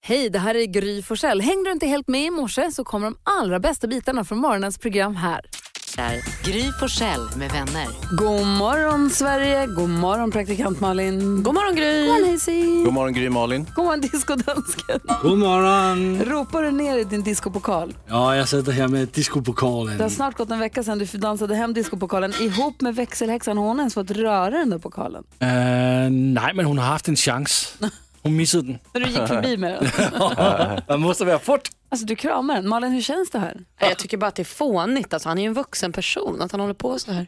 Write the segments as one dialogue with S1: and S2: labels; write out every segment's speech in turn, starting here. S1: Hej, det här är Gry Forssell. Hängde du inte helt med i morse så kommer de allra bästa bitarna från morgonens program här.
S2: Där. Gry Forssell med vänner.
S1: God morgon Sverige, god morgon praktikant Malin. God morgon Gry. God morgon Hayes.
S3: God morgon Gry Malin.
S1: God morgon diskodönsken.
S4: God morgon!
S1: Ropar du ner i din discopokal?
S4: Ja, jag sitter här med discopokalen.
S1: Det har snart gått en vecka sedan du dansade hem discopokalen ihop med växelhäxan. Har hon ens fått röra den där pokalen?
S4: Eh, nej, men hon har haft en chans. Hon missade den.
S1: När du gick förbi med den.
S4: Man måste vara fort.
S1: Alltså du kramar den. Malin, hur känns det här?
S5: Nej, Jag tycker bara att det är fånigt. Alltså, han är ju en vuxen person, att han håller på så här.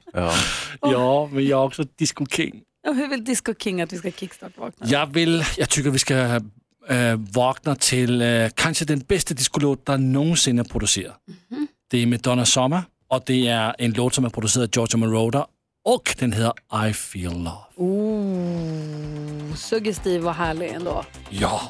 S4: Ja, men jag är också disco king.
S1: Och hur vill Disco King att vi ska kickstart-vakna?
S4: Jag vill, jag tycker vi ska eh, vakna till eh, kanske den bästa discolåt där någonsin är producerad.
S1: Mhm.
S4: Det är Madonna Summer och det är en låt som är producerad av Giorgio Moroder och den heter I feel love.
S1: Oh, suggestiv och härlig ändå.
S4: Ja.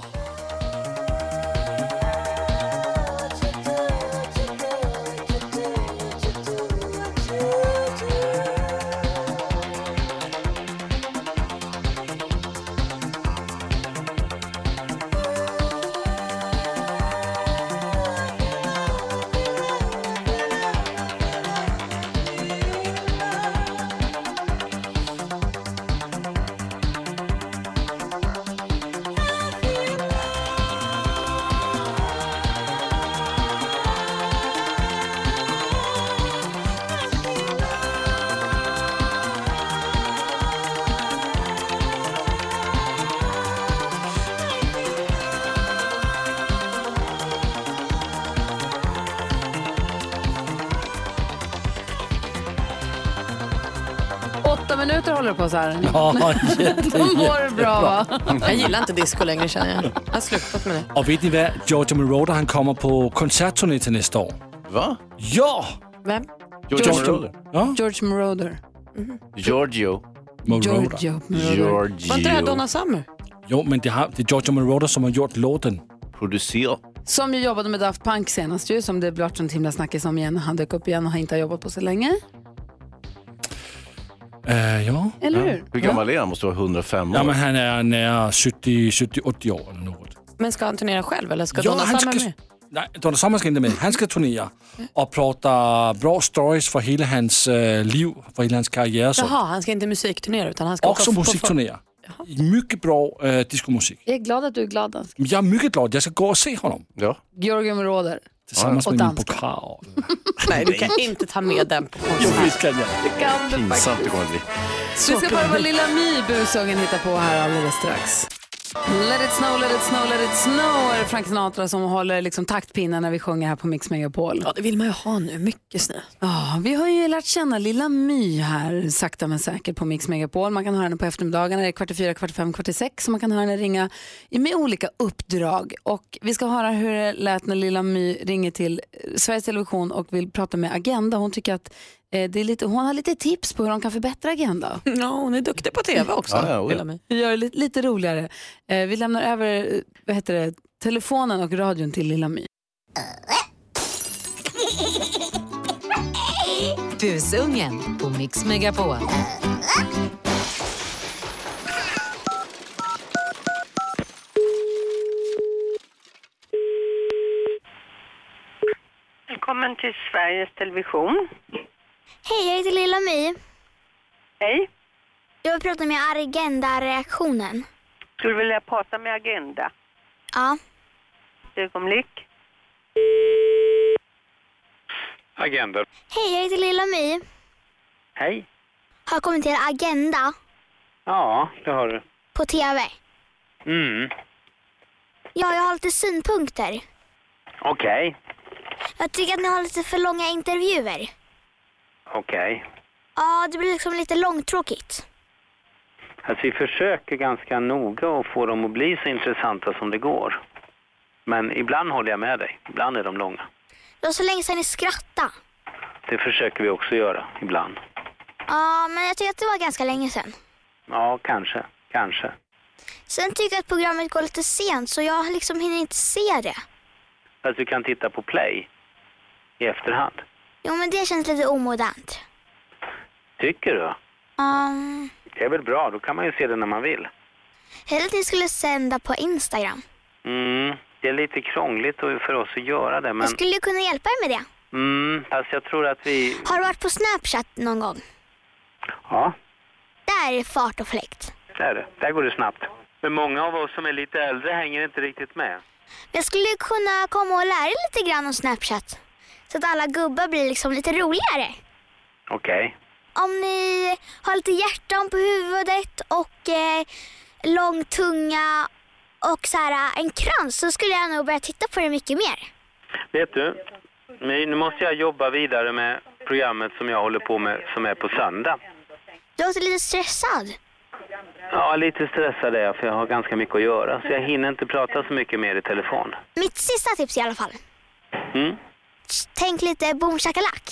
S1: Åtta minuter håller du på så här.
S4: ja
S1: Då mår du bra va?
S5: Jag gillar inte disco längre känner jag. Jag har slutat med det.
S4: Och vet ni vad? Giorgio Moroder han kommer på konsertturné till nästa år.
S3: Va?
S4: Ja!
S5: Vem?
S3: Giorgio Moroder?
S4: Ja.
S1: George Moroder.
S3: Giorgio.
S4: Moroder.
S1: Giorgio Moroder.
S3: Giorgio.
S5: Var inte det här Donna Summer?
S4: Jo, men det, har, det är Giorgio Moroder som har gjort låten.
S3: Producer.
S1: Som ju jobbade med Daft Punk senast ju, som det blivit sånt himla snackis om igen. Han dök upp igen och har inte jobbat på så länge.
S4: Eh, ja.
S1: Eller hur?
S3: Hur gammal är han? Måste vara 105 år.
S4: ja, men han är nära 70, 70 80 år eller något.
S5: Men ska han turnera själv eller ska
S4: ja,
S5: Donna
S4: han
S5: Summer med?
S4: Nej, Donna Summer ska inte med. Han ska turnera och prata bra stories för hela hans eh, liv, för hela hans karriär. Så.
S5: Jaha, han ska inte musikturnera utan han ska
S4: Också
S5: på- på-
S4: musikturnera. Mycket bra eh, discomusik.
S1: Jag är glad att du är glad dansk.
S4: Jag är mycket glad. Jag ska gå och se honom
S3: Ja.
S1: Georgium Moroder.
S4: tillsammans
S1: Och
S4: med min
S1: danska.
S4: pokal.
S5: Nej, du kan inte ta med den på
S4: Jo,
S5: konsert.
S4: visst kan jag.
S1: Kan du faktiskt.
S3: Pinsamt det kommer att bli.
S1: Vi ska bara vad Lilla My busungen hittar på här alldeles strax. Let it snow, let it snow, let it snow är det Frank Sinatra som håller liksom taktpinnen när vi sjunger här på Mix Megapol.
S5: Ja, det vill man ju ha nu. Mycket snö.
S1: Ja, vi har ju lärt känna lilla My här sakta men säkert på Mix Megapol. Man kan höra henne på eftermiddagarna, det är kvart i fyra, kvart i fem, kvart i sex. Så man kan höra henne ringa i- med olika uppdrag. Och vi ska höra hur det lät när lilla My ringer till eh, Sveriges Television och vill prata med Agenda. Hon tycker att eh, det är lite, hon har lite tips på hur de kan förbättra Agenda.
S5: Ja, hon är duktig på tv också.
S3: Ja, ja, oj.
S5: vill jag med.
S1: Vi gör det lite, lite roligare. Eh, vi lämnar över eh, vad heter det, telefonen och radion till lilla My.
S2: Busungen på Mix Megapol.
S6: Välkommen till Sveriges Television.
S7: Hej, jag heter Lilla My.
S6: Hej.
S7: Jag vill prata med Agenda-reaktionen.
S6: Skulle vilja prata med Agenda.
S7: Ja.
S6: Ett ögonblick.
S8: Agenda.
S7: Hej, jag heter Lilla My.
S8: Hej.
S7: Har kommit till Agenda
S8: Ja, det har du.
S7: på TV.
S8: Mm.
S7: Ja, jag har lite synpunkter.
S8: Okej.
S7: Jag tycker att ni har lite för långa intervjuer.
S8: Okej.
S7: Ja, det blir liksom lite långtråkigt.
S8: Alltså vi försöker ganska noga att få dem att bli så intressanta som det går. Men ibland håller jag med dig. Ibland är de långa.
S7: Det var så länge sedan ni skrattade.
S8: Det försöker vi också göra ibland.
S7: Ja, men jag tycker att det var ganska länge sedan.
S8: Ja, kanske. Kanske.
S7: Sen tycker jag att programmet går lite sent så jag liksom hinner inte se det.
S8: Fast du kan titta på play i efterhand.
S7: Jo, men det känns lite omodernt.
S8: Tycker du?
S7: Um,
S8: Det är väl bra. Då kan man ju se det när man vill.
S7: hellre att ni skulle sända på Instagram.
S8: Mm. Det är lite krångligt och- för oss att göra det, men
S7: Jag skulle kunna hjälpa er med det.
S8: mm, fast jag tror att vi...
S7: Har du varit på Snapchat någon gång?
S8: Ja,
S7: Där är det fart och fläkt.
S8: det är det. Där går det snabbt. Men många av oss som är lite äldre hänger inte riktigt med.
S7: Jag skulle kunna komma och lära er lite grann om Snapchat. Så att alla gubbar blir liksom lite roligare.
S8: Okej.
S7: Om ni har lite hjärtan på huvudet och eh, lång tunga och så här, eh, en krans så skulle jag nog börja titta på det mycket mer.
S8: Vet du, men nu måste jag jobba vidare med programmet som jag håller på med som är på söndag.
S7: Du låter lite stressad.
S8: Ja, lite stressad är jag för jag har ganska mycket att göra så jag hinner inte prata så mycket mer i telefon.
S7: Mitt sista tips i alla fall.
S8: Mm.
S7: Tänk lite boom shakalak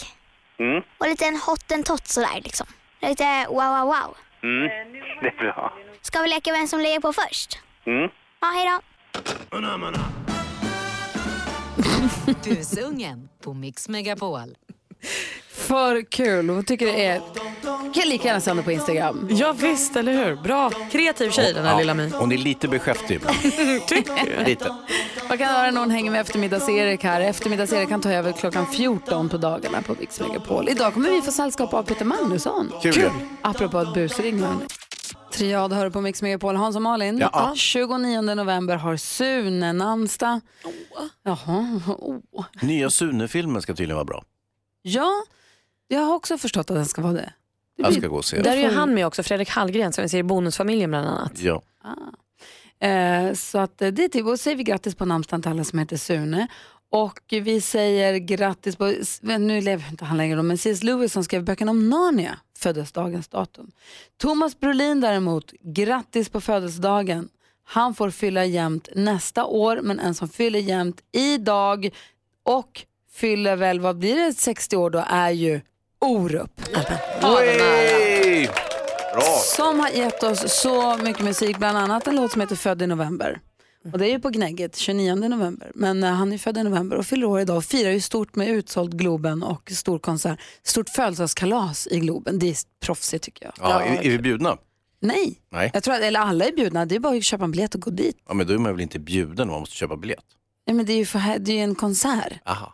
S8: Mm.
S7: och lite en hottentott sådär liksom. Lite wow wow wow.
S8: Mm.
S6: Eh,
S8: Det är bra.
S7: Ska vi leka vem som lägger på först?
S8: Mm.
S7: Ja, hejdå.
S2: Busungen på Mix Megapol.
S1: För kul. Vad tycker det är? Kan lika gärna sända på Instagram.
S5: Ja, visst, eller hur? Bra. Kreativ tjej den här lilla My.
S3: Hon är lite beskäftig ibland. lite.
S1: Man kan höra när hon hänger med eftermiddags-Erik här. Eftermiddags-Erik kan ta över klockan 14 på dagarna på Mix Megapol. Idag kommer vi få sällskap av Peter Magnusson.
S3: Kul. Kul.
S1: Apropå att busring hörni. Triad hör du på Mix Megapol. Hans och Malin.
S3: Ja.
S1: 29 november har Sune namnsdag. Jaha. Oh.
S3: Nya Sune-filmen ska tydligen vara bra.
S1: Ja, jag har också förstått att den ska vara det. Det
S3: Jag
S1: blir
S3: ska gå och se.
S5: Där
S3: den.
S5: är ju han med också, Fredrik Hallgren som vi ser i Bonusfamiljen bland annat.
S3: Ja.
S1: Eh, så att eh, det är typ, och säger vi grattis på namnsdagen till alla som heter Sune. Och vi säger grattis på, s- men nu lever inte han längre då, men C.S. Lewis som skrev böckerna om Narnia föddes dagens datum. Thomas Brolin däremot, grattis på födelsedagen. Han får fylla jämnt nästa år, men en som fyller jämnt idag och fyller väl, vad blir det, 60 år då, är ju Orup.
S3: Hey! Bra!
S1: Som har gett oss så mycket musik, bland annat en låt som heter Född i november. Och det är ju på Gnägget, 29 november. Men eh, han är född i november och fyller år idag och firar ju stort med utsåld Globen och stor konsert. Stort födelsedagskalas i Globen. Det är proffsigt tycker jag.
S3: Ja, är, är vi bjudna?
S1: Nej,
S3: Nej.
S1: jag tror att eller alla är bjudna. Det är bara att köpa en biljett och gå dit.
S3: Ja, men då är man väl inte bjuden om man måste köpa biljett?
S1: Nej, men det är ju för, här- det är ju en konsert.
S3: Aha. Ah,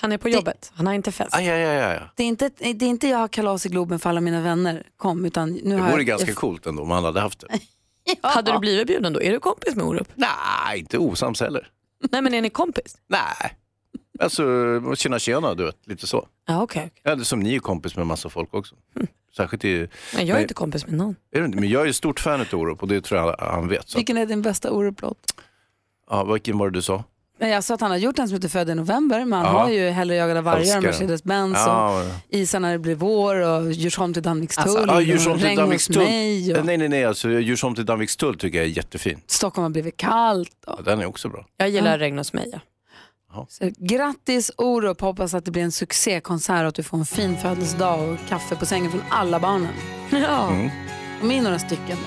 S5: Han är på jobbet, han har inte fest.
S3: Aj, aj, aj, aj.
S1: Det är inte, det är inte jag har kalas i Globen för alla mina vänner kom. Utan nu
S3: Det
S1: har
S3: vore
S1: jag,
S3: ganska
S1: jag,
S3: coolt ändå om han hade haft det.
S5: Hade du blivit bjuden då? Är du kompis med Orup?
S3: Nej, inte osams heller.
S5: Nej men är ni kompis?
S3: Nej. Alltså, tjena tjena, du vet, lite så.
S5: Ja okej. okej. Hm.
S3: Ja, det är som ni är kompis med massa folk också. Särskilt i...
S5: Nej, jag är
S3: Nej.
S5: inte kompis med någon.
S3: Är du inte? Men jag är ju stort fan av Orup och det tror jag han vet. Så. att-
S1: Vilken är din bästa Orup-låt?
S3: Ja, vilken var det du sa?
S1: Nej, jag sa att han har gjort en som heter Född i november, men han
S3: Ja.
S1: har ju Hellre jagade vargar
S3: Älskar
S1: och
S3: den.
S1: Mercedes-Benz och
S3: Ja,
S1: Isar när det blir vår och Djursholm till Danvikstull
S3: Alltså, ja, Djursholm
S1: och
S3: till
S1: Regn Alltså, hos
S3: Danvikstull.
S1: mig och
S3: Nej, nej, nej. Alltså, Djursholm till Danvikstull tycker jag är jättefin.
S1: Stockholm har blivit kallt. Och,
S3: Ja, den är också bra.
S5: Jag gillar regn hos mig. Ja.
S1: så, grattis Orup, hoppas att det blir en succékonsert och att du får en fin födelsedag och kaffe på sängen från alla barnen.
S5: Ja.
S9: Mm.
S1: De är några stycken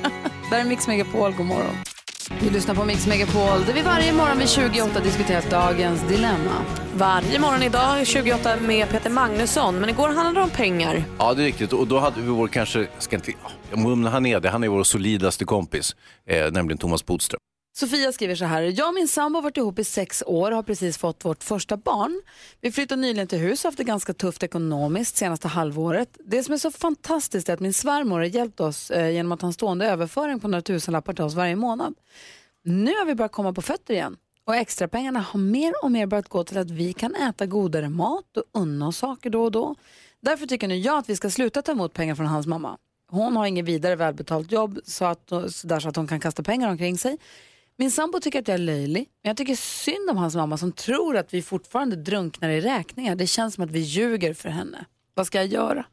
S1: nu. Där är Mix Megapol, god morgon. Vi lyssnar på Mix Megapol där vi varje morgon vid 28 diskuterar dagens dilemma.
S5: Varje morgon idag 28 med Peter Magnusson, men igår handlade det om pengar.
S3: Ja, det är riktigt. Och då hade vi vår kanske, ska inte, ja, jag mumlar han är det, han är vår solidaste kompis, eh, nämligen Thomas Bodström.
S1: Sofia skriver så här. Jag och min sambo har varit ihop i sex år och har precis fått vårt första barn. Vi flyttade nyligen till hus och haft det ganska tufft ekonomiskt senaste halvåret. Det som är så fantastiskt är att min svärmor har hjälpt oss eh, genom att ha en stående överföring på några tusenlappar till oss varje månad. Nu har vi börjat komma på fötter igen och extrapengarna har mer och mer börjat gå till att vi kan äta godare mat och unna oss saker då och då. Därför tycker nu jag att vi ska sluta ta emot pengar från hans mamma. Hon har inget vidare välbetalt jobb så att, så där så att hon kan kasta pengar omkring sig. Min sambo tycker att jag är löjlig, men jag tycker synd om hans mamma som tror att vi fortfarande drunknar i räkningar. Det känns som att vi ljuger för henne. Vad ska jag göra?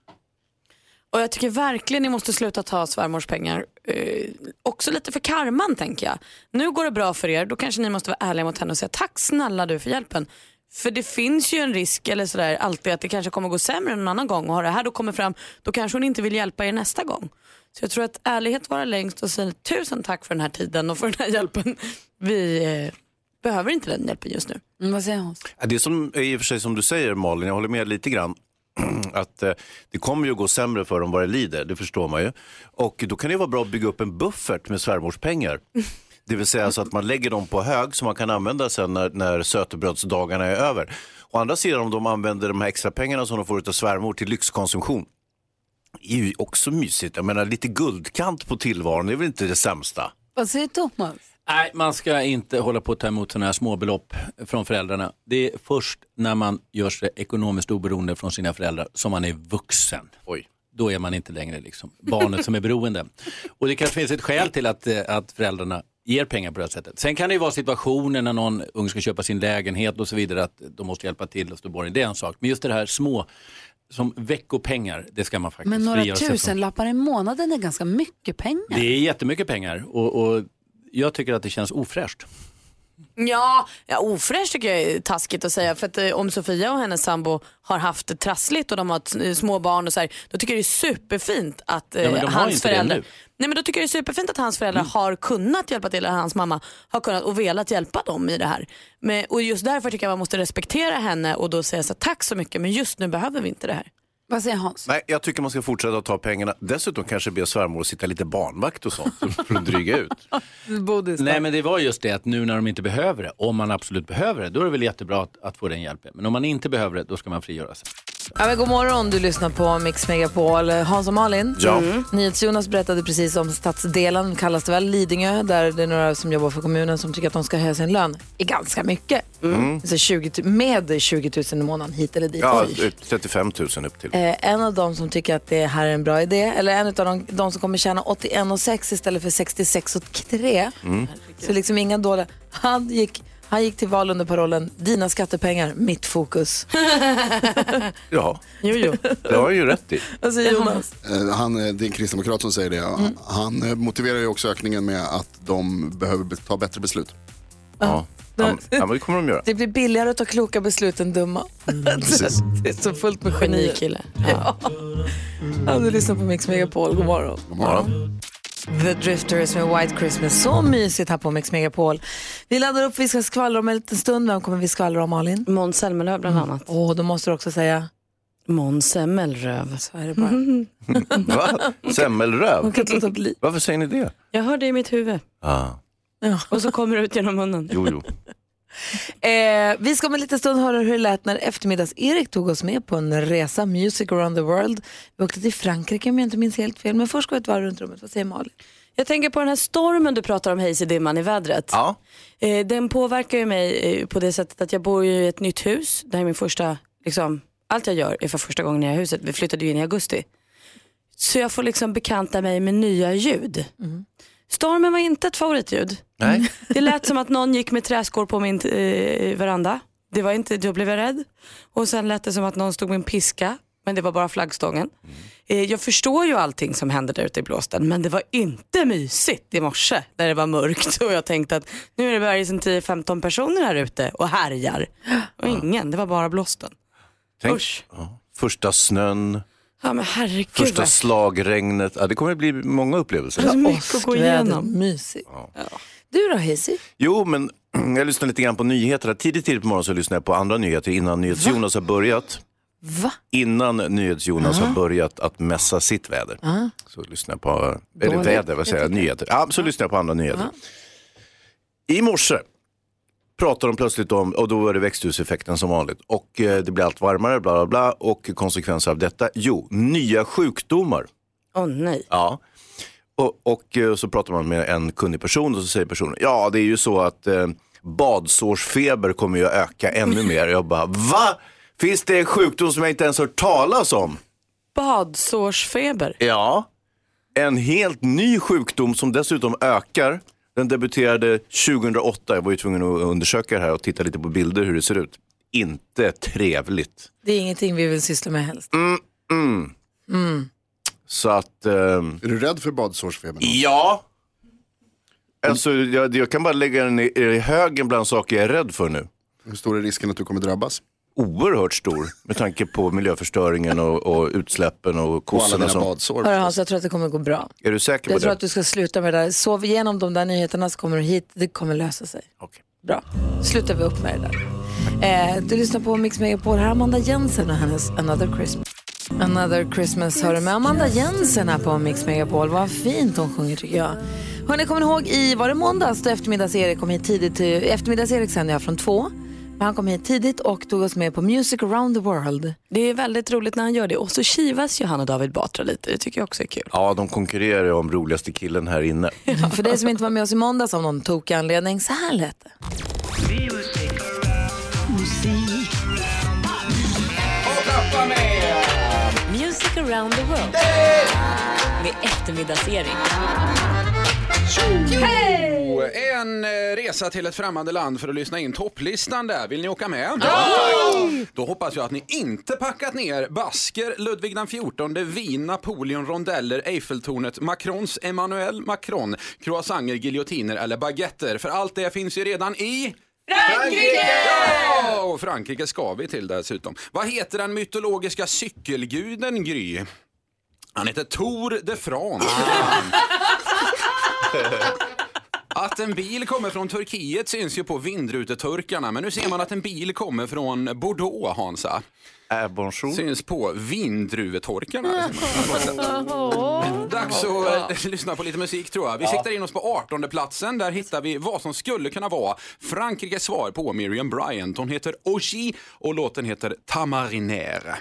S5: Och jag tycker verkligen ni måste sluta ta svärmors pengar. Eh, också lite för karman tänker jag. Nu går det bra för er, då kanske ni måste vara ärliga mot henne och säga tack snälla du för hjälpen. För det finns ju en risk eller sådär alltid att det kanske kommer gå sämre någon annan gång och har det här då kommer fram då kanske hon inte vill hjälpa er nästa gång. Så jag tror att ärlighet vara längst och säga tusen tack för den här tiden och för den här hjälpen. Vi eh, behöver inte den hjälpen just nu.
S1: Mm, vad säger hon?
S3: Ja, Det är som, eh, i och för sig som du säger Malin, jag håller med lite grann. Att eh, det kommer ju gå sämre för dem vad det lider, det förstår man ju. Och då kan det ju vara bra att bygga upp en buffert med svärmors pengar. Det vill säga så att man lägger dem på hög som man kan använda sen när, när sötebrödsdagarna är över. Å andra sidan om de använder de här extra pengarna som de får av svärmor till lyxkonsumtion är ju också mysigt. Jag menar lite guldkant på tillvaron, det är väl inte det sämsta?
S10: Vad säger Thomas?
S11: Nej, man ska inte hålla på att ta emot sådana här småbelopp från föräldrarna. Det är först när man gör sig ekonomiskt oberoende från sina föräldrar som man är vuxen.
S3: Oj.
S11: Då är man inte längre liksom barnet som är beroende. Och det kanske finns ett skäl till att, eh, att föräldrarna ger pengar på det här sättet. Sen kan det ju vara situationer när någon ung ska köpa sin lägenhet och så vidare att de måste hjälpa till och stå borgen. Det är en sak. Men just det här små, som veckopengar, det ska man faktiskt
S10: Men några
S11: frigöra sig från.
S10: tusenlappar i månaden är ganska mycket pengar.
S11: Det är jättemycket pengar och, och jag tycker att det känns ofräscht.
S5: Ja, ja ofräscht tycker jag är taskigt att säga. För att eh, om Sofia och hennes sambo har haft det trassligt och de har ett, eh, små barn och så här, då tycker jag det är superfint att eh,
S11: Ja, men de har ju
S5: hans
S11: inte det
S5: föräldrar...
S11: nu. Mm.
S5: Nej men då tycker jag det är superfint att hans föräldrar har kunnat hjälpa till, eller hans mamma har kunnat och velat hjälpa dem i det här. Men, och just därför tycker jag man måste respektera henne och då säga så här, tack så mycket men just nu behöver vi inte det här.
S10: Vad säger Hans?
S3: Nej, jag tycker man ska fortsätta att ta pengarna. Dessutom kanske be svärmor att sitta lite barnvakt och sånt för att dryga ut.
S10: Bodis,
S11: Nej men det var just det att nu när de inte behöver det, om man absolut behöver det, då är det väl jättebra att, att få den hjälpen. Men om man inte behöver det, då ska man frigöra sig.
S1: Ja, men god morgon, du lyssnar på Mix Megapol. Hans och Malin. Mm.
S3: Ja.
S1: NyhetsJonas berättade precis om stadsdelen, kallas det väl, Lidingö, där det är några som jobbar för kommunen som tycker att de ska höja sin lön i ganska mycket.
S3: Mm.
S5: Mm.
S1: Alltså 20, tu- med 20 000 i månaden hit eller dit.
S3: Ja,
S1: Oj.
S3: 35 000 upp till.
S1: Eh, en av dem som tycker att det här är en bra idé, eller en av de, de som kommer tjäna 81 och 6 istället för 66 och 3.
S3: Mm.
S1: Så liksom inga dåliga. Han gick, han gick till val under parollen Dina skattepengar, mitt fokus.
S3: Ja,
S1: Jo, jo.
S3: det har jag ju rätt i.
S1: Alltså Jonas. Mm.
S12: Eh, Han, eh, det är en kristdemokrat som säger det. Han eh, motiverar ju också ökningen med att de behöver be- ta bättre beslut.
S3: Ja. Ja, men- ja, men det kommer de göra.
S1: Det blir billigare att ta kloka beslut än dumma. det är så fullt med geni.
S5: Genikille.
S1: Ja. Ja, du lyssnar på Mix Megapol. God morgon.
S12: God morgon.
S1: The Drifters med White Christmas. Så mysigt här på Mix Megapol. Vi laddar upp, vi ska skvallra om en liten stund. Vem kommer vi skvallra om, Malin? Mm.
S5: Måns Zelmerlöw bland annat.
S1: Åh, då måste du också säga.
S5: Måns Zelmerlöw.
S1: Så är det bara.
S3: Va? Semmelröv?
S1: Hon kan inte låta bli.
S3: Varför säger ni det?
S5: Jag hörde i mitt huvud
S3: Ah,
S5: och så kommer det ut genom munnen.
S3: jo, jo.
S1: Eh, vi ska om en liten stund höra hur det lät när eftermiddags-Erik tog oss med på en resa, Music around the world. Vi åkte till Frankrike om jag inte minns helt fel, men först går vi ett varv runt rummet. Vad säger Malin?
S5: Jag tänker på den här stormen du pratar om, Hayes i dimman i vädret.
S3: Ja.
S5: Eh, den påverkar ju mig eh, på det sättet att jag bor ju i ett nytt hus. Det här är min första, liksom, allt jag gör är för första gången i det här huset. Vi flyttade ju in i augusti. Så jag får liksom bekanta mig med nya ljud. Stormen var inte ett favoritljud.
S3: Nej.
S5: Det lät som att någon gick med träskor på min eh, veranda. Det var inte, då blev jag rädd. Och sen lät det som att någon stod med en piska, men det var bara flaggstången. Eh, jag förstår ju allting som hände där ute i blåsten, men det var inte mysigt i morse när det var mörkt och jag tänkte att nu är det bara liksom 10-15 personer här ute och härjar. Och ingen, det var bara blåsten.
S3: Tänk,
S5: Usch.
S3: ja. Första snön,
S5: Ja men herregud.
S3: första
S5: vad-
S3: slagregnet. Ja, det kommer bli många upplevelser.
S5: så mycket att gå
S1: Åskväder,
S5: igenom.
S1: Mysigt. Du då, Hazy?
S3: Jo, men jag lyssnar lite grann på nyheterna. Tidigt, tidigt på morgonen så lyssnar jag på andra nyheter innan NyhetsJonas har börjat.
S1: Va? Ah.
S3: Innan NyhetsJonas har börjat att mässa sitt väder.
S1: Ja.
S3: Så lyssnar jag på, eh, eller
S1: Ah. Dåligt. Ah.
S3: väder, vad säger jag, nyheter. Ja, så lyssnar jag på andra nyheter. I morse pratar de plötsligt om, och då var det växthuseffekten som vanligt. Och eh, det blir allt varmare, bla bla bla. Och konsekvenser av detta, jo, nya sjukdomar.
S5: Åh nej.
S3: Ja. Och, och eh, så pratar man med en kunnig person och så säger personen, ja det är ju så att eh, badsårsfeber kommer ju att öka ännu mer. Jag bara, va? Finns det en sjukdom som jag inte ens hört talas om?
S5: Badsårsfeber.
S3: Ja. En helt ny sjukdom som dessutom ökar. Den debuterade 2008. Jag var ju tvungen att undersöka det här och titta lite på bilder hur det ser ut. Inte trevligt.
S1: Det är ingenting vi vill syssla med helst.
S3: Mm. Så att, ehm,
S12: Är du rädd för badsårsfebern?
S3: ja. Alltså, jag, jag kan bara lägga den i, i högen bland saker jag är rädd för nu.
S12: Hur stor är risken att du kommer drabbas?
S3: Oerhört stor med tanke på miljöförstöringen och, och utsläppen och
S12: Och alla
S3: kossorna.
S12: dina
S3: Som,
S12: badsår.
S1: Hörru Hans, jag tror att det kommer gå bra.
S3: är du säker på
S1: Jag tror
S3: det?
S1: att du ska sluta med det där. Sov igenom de där nyheterna så kommer du hit. Det kommer lösa sig.
S3: Okej.
S1: Bra. Slutar vi upp med det där. Eh, du lyssnar på Mix Megapol. Här är Amanda Jensen och hennes Another Christmas. Another Christmas hör du med Amanda Jensen här på Mix Megapol. Vad fint hon sjunger tycker jag. Hörrni, kommer ni ihåg i, var det måndags då eftermiddags-Erik kom hit tidigt? till- Eftermiddags-Erik sände jag från två. Men Han kom hit tidigt och tog oss med på Music around the world.
S5: Det är väldigt roligt när han gör det. Och så kivas ju han och David Batra lite. Det tycker jag också är kul.
S3: Ja, de konkurrerar ju om roligaste killen här inne.
S1: För dig som inte var med oss i måndags av någon tokig anledning, så här lät det.
S13: Music around the world. Med eftermiddagsserie.
S9: Jo, En eh, resa till ett främmande land för att lyssna in topplistan där. Vill ni åka med? Då hoppas jag att ni inte packat ner Basker, Ludvig den 14, Wien, Napoleon, rondeller, Eiffeltornet, Macrons Emmanuel Macron, croissanger, giljotiner eller baguetter. För allt det finns ju redan i...
S6: Frankrike!
S9: Ja, och Frankrike ska vi till dessutom. Vad heter den mytologiska cykelguden Gry? Han heter Tor de France. Att en bil kommer från Turkiet syns ju på vindruteturkarna, men nu ser man att en bil kommer från Bordeaux, Hansa. Äh, bonjour. Syns på vindruvetorkarna. Dags att eh, lyssna på lite musik tror jag. Vi
S14: Ja.
S9: siktar in oss på 18 platsen. Där hittar vi vad som skulle kunna vara Frankrikes svar på Miriam Bryant. Hon heter Oji och låten heter Tamariner.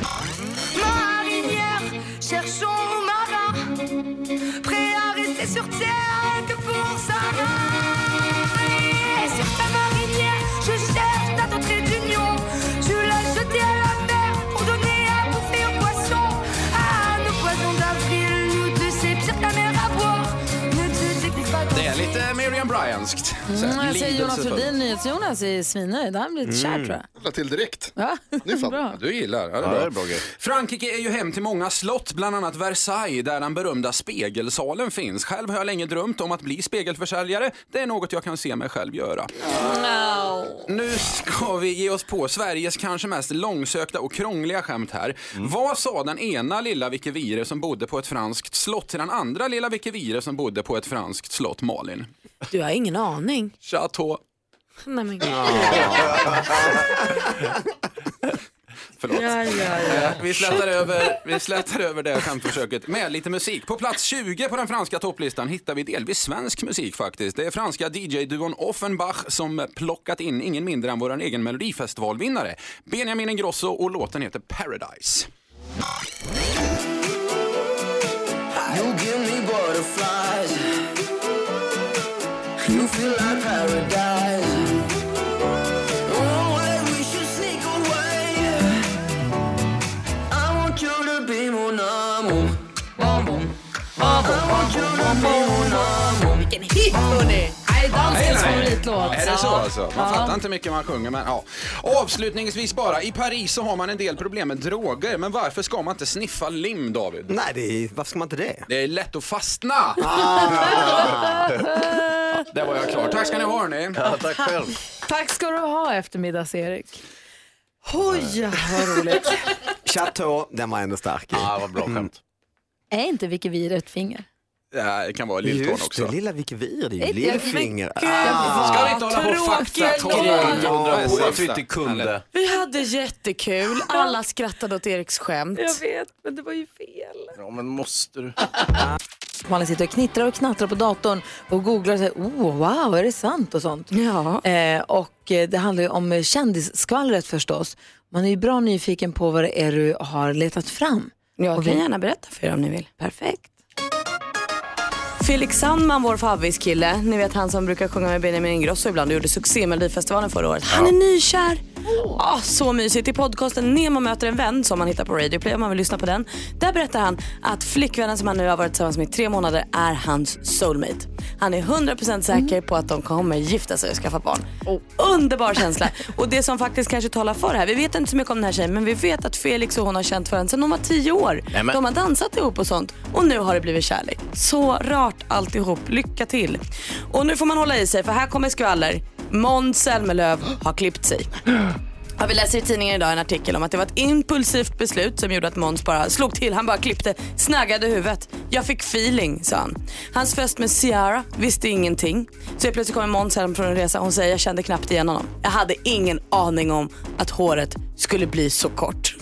S6: Marinière, cherchons nos marins, prêts à rester sur terre que pour sa Et sur ta marinière, je cherche ta entrée d'union. Tu l'as jetée à la mer pour donner à bouffer aux poissons. Ah, nos poissons d'avril, nous deux, c'est pire que la mer à boire. Ne te découvre pas
S9: Det är lite Miriam Bryantskt. Så här,
S1: Mm, jag säger Jonas
S9: lidelsefullt.
S1: Rhodin, NyhetsJonas är svinnöjd. Han blir lite
S9: Mm.
S1: kär tror jag.
S9: Jag till direkt.
S1: Ja,
S9: Ja, Du gillar, ja, det är
S3: Ja,
S9: bra.
S3: det är bra grej.
S9: Frankrike är ju hem till många slott, bland annat Versailles där den berömda spegelsalen finns. Själv har jag länge drömt om att bli spegelförsäljare. Det är något jag kan se mig själv göra. Nu ska vi ge oss på Sveriges kanske mest långsökta och krångliga skämt här. Vad sa den ena lilla Vicky Vire som bodde på ett franskt slott till den andra lilla Vicky Vire som bodde på ett franskt slott, Malin?
S5: Du har ingen aning.
S9: Chateau.
S5: Nej, men... gud.
S9: Förlåt.
S5: Ja, ja, ja.
S9: Eh, Vi, slätar över, vi slätar över det skämtförsöket med lite musik. På plats 20 på den franska topplistan hittar vi delvis svensk musik faktiskt. Det är franska DJ-duon Offenbach som plockat in ingen mindre än vår egen melodifestivalvinnare Benjamin Ingrosso och låten heter Paradise.
S6: You give me butterflies. You feel like paradise. Oh, wait, we should sneak away. I want you to be mon amour. Bon, bon. I want you to be mon amour. Vilken hit, hörni!
S9: Nej, nej. Är det så alltså? Man fattar inte mycket man sjunger men ja. Avslutningsvis bara, i Paris så har man en del problem med droger men varför ska man inte sniffa lim David?
S15: Nej, det är, varför ska man inte det?
S9: Det är lätt att fastna! Där var jag klar. Tack ska ni ha hörni. tack själv.
S1: Tack ska du ha eftermiddags-Erik. Oj, vad roligt.
S15: Chateau, den var ändå stark. Ja,
S9: ah, vad bra skämt.
S1: är inte Vicky Vire ett finger?
S9: Mm. Det kan vara lilltån
S15: Just
S9: också.
S15: det, lilla Vicky Vir, det är ju
S1: Ett
S15: lillfinger.
S1: jävla- Gud,
S9: Ska vi inte hålla på och
S5: tråkig
S9: faktatolla?
S5: ändå.
S9: Jag undrar
S3: Att vi inte kunde.
S5: Vi hade jättekul. Alla skrattade åt Eriks skämt.
S1: Jag vet,
S5: men det var ju fel.
S3: Ja, men måste du?
S1: Ah. Man sitter och knittrar och knattrar på datorn och googlar och säger oh, wow, är det sant och sånt. Eh, och eh, det handlar ju om eh, kändisskvallret förstås. Man är ju bra nyfiken på vad det är du har letat fram.
S5: Jag
S1: och
S5: kan gärna berätta för er om ni vill.
S1: Perfekt.
S5: Felix Sandman, vår favviskille, ni vet han som brukar sjunga med Benjamin Ingrosso ibland och gjorde succé med Melodifestivalen förra året. Han är nykär. Ah, så mysigt. I podcasten Nemo möter en vän som man hittar på Radio Play om man vill lyssna på den. Där berättar han att flickvännen som han nu har varit tillsammans med i tre månader är hans soulmate. Han är 100% säker på att de kommer gifta sig och skaffa barn. Underbar känsla. Och det som faktiskt kanske talar för det här, vi vet inte så mycket om den här tjejen men vi vet att Felix och hon har känt varandra sedan de var tio år.
S6: Nämen.
S5: De har dansat ihop och sånt och nu har det blivit kärlek. Så rart alltihop. Lycka till. Och nu får man hålla i sig för här kommer skvaller. Måns Zelmerlöw har klippt sig. Ja, vi läser i tidningen idag en artikel om att det var ett impulsivt beslut som gjorde att Måns bara slog till. Han bara klippte, snaggade huvudet. Jag fick feeling, sa han. Hans fest med Ciara visste ingenting. Så helt plötsligt kommer Måns hem från en resa. Hon säger jag kände knappt igen honom. Jag hade ingen aning om att håret skulle bli så kort.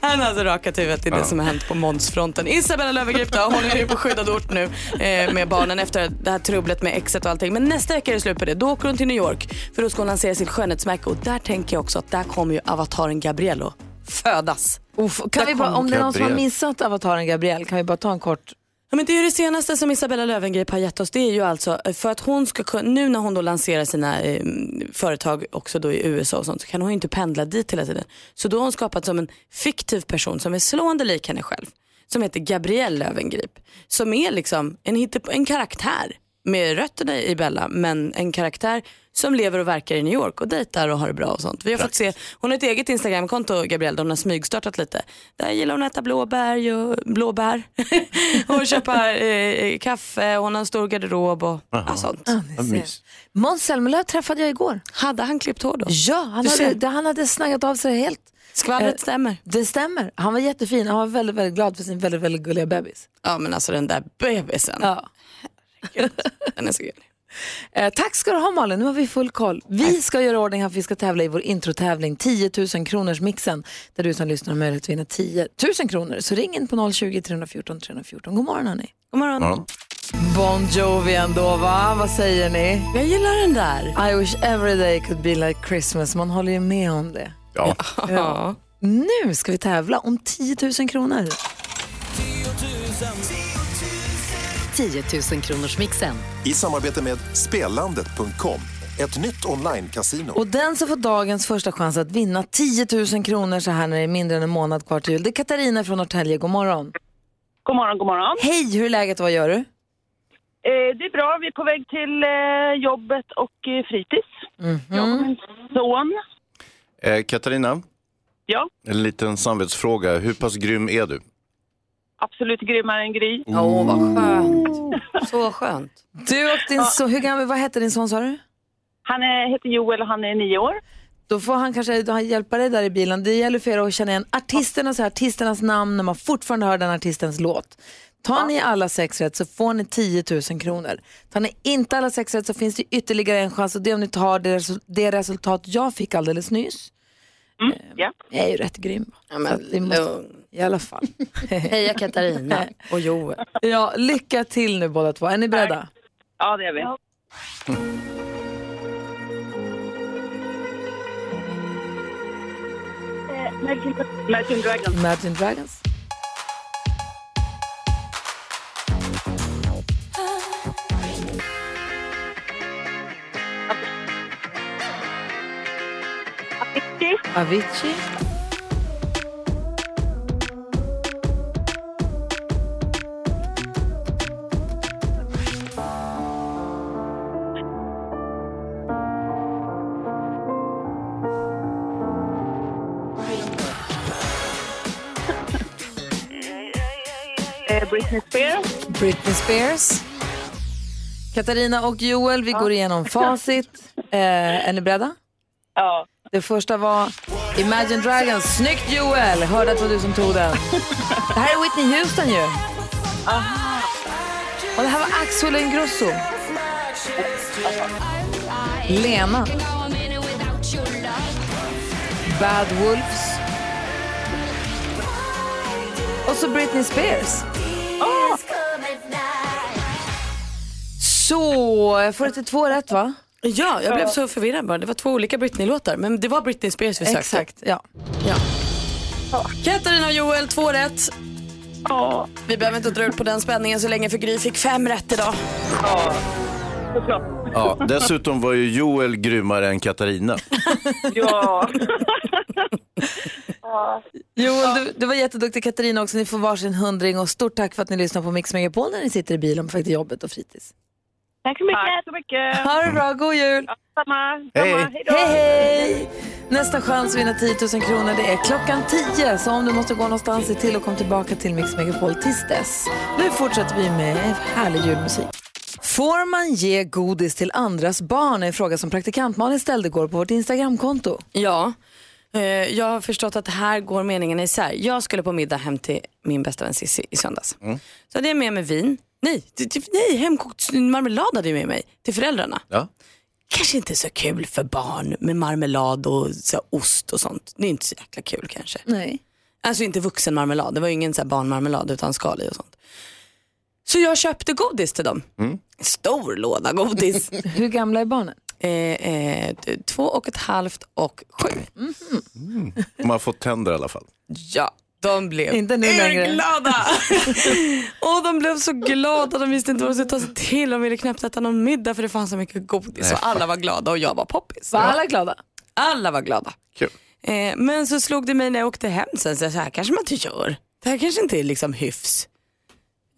S5: Han har alltså rakat huvudet, det är det
S6: Ja.
S5: som har hänt på Månsfronten. Isabella Löwengrip då, hon är ju på skyddad ort nu eh, med barnen efter det här trubblet med exet och allting. Men nästa vecka är det slut på det. Då åker hon till New York för då ska hon lansera sitt skönhetsmärke och där tänker jag också att där kommer ju avataren Gabriello födas.
S1: Kan
S5: Där
S1: vi bara,
S5: kommer-
S1: om det är någon som har missat avataren Gabriel, kan vi bara ta en kort...
S5: Ja, men det är ju det senaste som Isabella Löwengrip har gett oss. Det är ju alltså eh, för att hon ska kunna, nu när hon då lanserar sina eh, företag också då i USA och sånt så kan hon ju inte pendla dit hela tiden. Så då har hon skapat som en fiktiv person som är slående lik henne själv. Som heter Gabrielle Löwengrip. Som är liksom en, hittepå- en karaktär med rötterna i Bella men en karaktär som lever och verkar i New York och dejtar och har det bra och sånt. Vi har fått se, hon har ett eget Instagramkonto Gabrielle, de har smygstartat lite. Där gillar hon att äta blåbär och, blåbär och köpa eh, kaffe, hon har en stor garderob och ja, sånt.
S1: Måns Zelmerlöw träffade jag igår.
S5: Hade han klippt hår då?
S1: Ja, han
S5: Du
S1: hade,
S5: ser.
S1: det- han hade snaggat av sig helt. Eh,
S5: Skvallret stämmer.
S1: Det stämmer. Han var jättefin. Han var väldigt, väldigt glad för sin väldigt, väldigt gulliga bebis.
S5: Ja men alltså den där bebisen.
S1: Ja.
S5: Den är så gullig.
S1: Eh, tack ska du ha Malin, nu har vi full koll. Vi ska göra i ordning här för vi ska tävla i vår introtävling 10 000 kronors mixen där du som lyssnar har möjlighet att vinna 10 000 kronor. Så ring in på 020-314 314. God morgon hörni.
S5: God morgon.
S1: Bon Jovi ändå va? Vad säger ni?
S5: Jag gillar den där.
S1: I wish every day could be like Christmas. Man håller ju med om det.
S3: Ja.
S1: Ja. Nu ska vi tävla om 10 000 kronor.
S2: 10 000 kronors mixen.
S14: I samarbete med Spelandet.com, ett nytt online-casino.
S1: Och den som får dagens första chans att vinna 10 000 kronor så här när det är mindre än en månad kvar till jul, det är Katarina från Norrtälje. God morgon.
S16: God morgon, god morgon.
S1: Hej, hur är läget och vad gör du?
S16: Eh, det är bra, vi är på väg till eh, jobbet och eh, fritids.
S1: Mhm.
S16: Jag och min son.
S3: Eh, Katarina,
S16: Ja,
S3: en liten samvetsfråga. Hur pass grym är du?
S16: absolut grymmare än Gry.
S3: Åh, oh, vad
S16: Mm.
S5: skönt. Så skönt.
S1: Du och din son, hur gammal, vad heter din son sa du?
S16: Han är, heter Joel och han är nio år.
S1: Då får han kanske då han hjälpa dig där i bilen. Det gäller för er att känna igen artisternas, artisternas namn när man fortfarande hör den artistens låt. Tar ni alla sex rätt så får ni 10 000 kronor. Tar ni inte alla sex rätt så finns det ytterligare en chans och det är om ni tar det, resu- det resultat jag fick alldeles nyss.
S16: Mm, ja.
S1: Jag är ju rätt grym. Ja,
S5: men
S1: I alla fall.
S5: Heja Katarina och Joel.
S1: Ja, lycka till nu båda två. Är ni beredda?
S16: Ja, det är vi. Eh, Imagine Dragons.
S1: Imagine Dragons.
S16: Avicii.
S1: Avicii.
S16: Eh, Britney Spears.
S1: Britney Spears. Katarina och Joel, vi går igenom facit. Eh, är ni beredda?
S16: Ja.
S1: Det första var Imagine Dragons. Snyggt Joel! Hörde att det var du som tog den. Det här är Whitney Houston ju.
S16: Ah.
S1: Och det här var Axel Ingrosso. Lena. Bad Wolves. Och så Britney Spears. Så, jag får inte två rätt va?
S5: Ja, jag blev så förvirrad bara. Det var två olika Britney-låtar, men det var Britney Spears vi sökte.
S1: Exakt, ja.
S5: Katarina och Joel, två rätt. Vi behöver inte dra ut på den spänningen så länge för Gry fick fem rätt idag.
S3: Ja, dessutom var ju Joel grymmare än Katarina.
S16: Ja.
S1: Joel, du, du var jätteduktig Katarina också. Ni får varsin hundring och stort tack för att ni lyssnar på Mix Megapol när ni sitter i bilen på väg till jobbet och fritids.
S16: Tack så mycket. Tack så mycket.
S1: Ha det bra, god jul!
S16: Samma.
S1: Hej.
S16: samma. Hej då.
S1: Hej, hej! Nästa chans att vinna 10 000 kronor det är klockan 10. Så om du måste gå någonstans, se till att komma tillbaka till Mix Megapol tills dess. Nu fortsätter vi med härlig julmusik. Får man ge godis till andras barn? är en fråga som praktikant Malin ställde igår på vårt Instagramkonto.
S5: Ja, eh, jag har förstått att här går meningarna isär. Jag skulle på middag hem till min bästa vän Cissi i söndags. Så hade jag med mig vin. Nej, t- t- nej hemkokt marmelad hade jag med mig till föräldrarna.
S3: Ja.
S5: Kanske inte så kul för barn med marmelad och så här, ost och sånt. Det är inte så jäkla kul kanske.
S1: Nej.
S5: Alltså inte vuxenmarmelad, det var ju ingen så här barnmarmelad utan skal i och sånt. Så jag köpte godis till dem. Stor låda godis.
S1: Hur gamla är barnen?
S5: Eh, eh, t- två och ett halvt och sju.
S3: De har fått tänder i alla fall.
S5: Ja, de blev
S1: Inte nu längre.
S5: urglada. och de blev så glada, de visste inte vad de skulle ta sig till. De ville knappt äta någon middag för det fanns så mycket godis.
S1: Nej,
S5: Och alla var glada och jag var poppis.
S1: Var alla glada?
S5: Alla var glada.
S3: Kul.
S5: Eh, men så slog det mig när jag åkte hem sen, så här, så här kanske man inte gör. Det här kanske inte är liksom hyfs.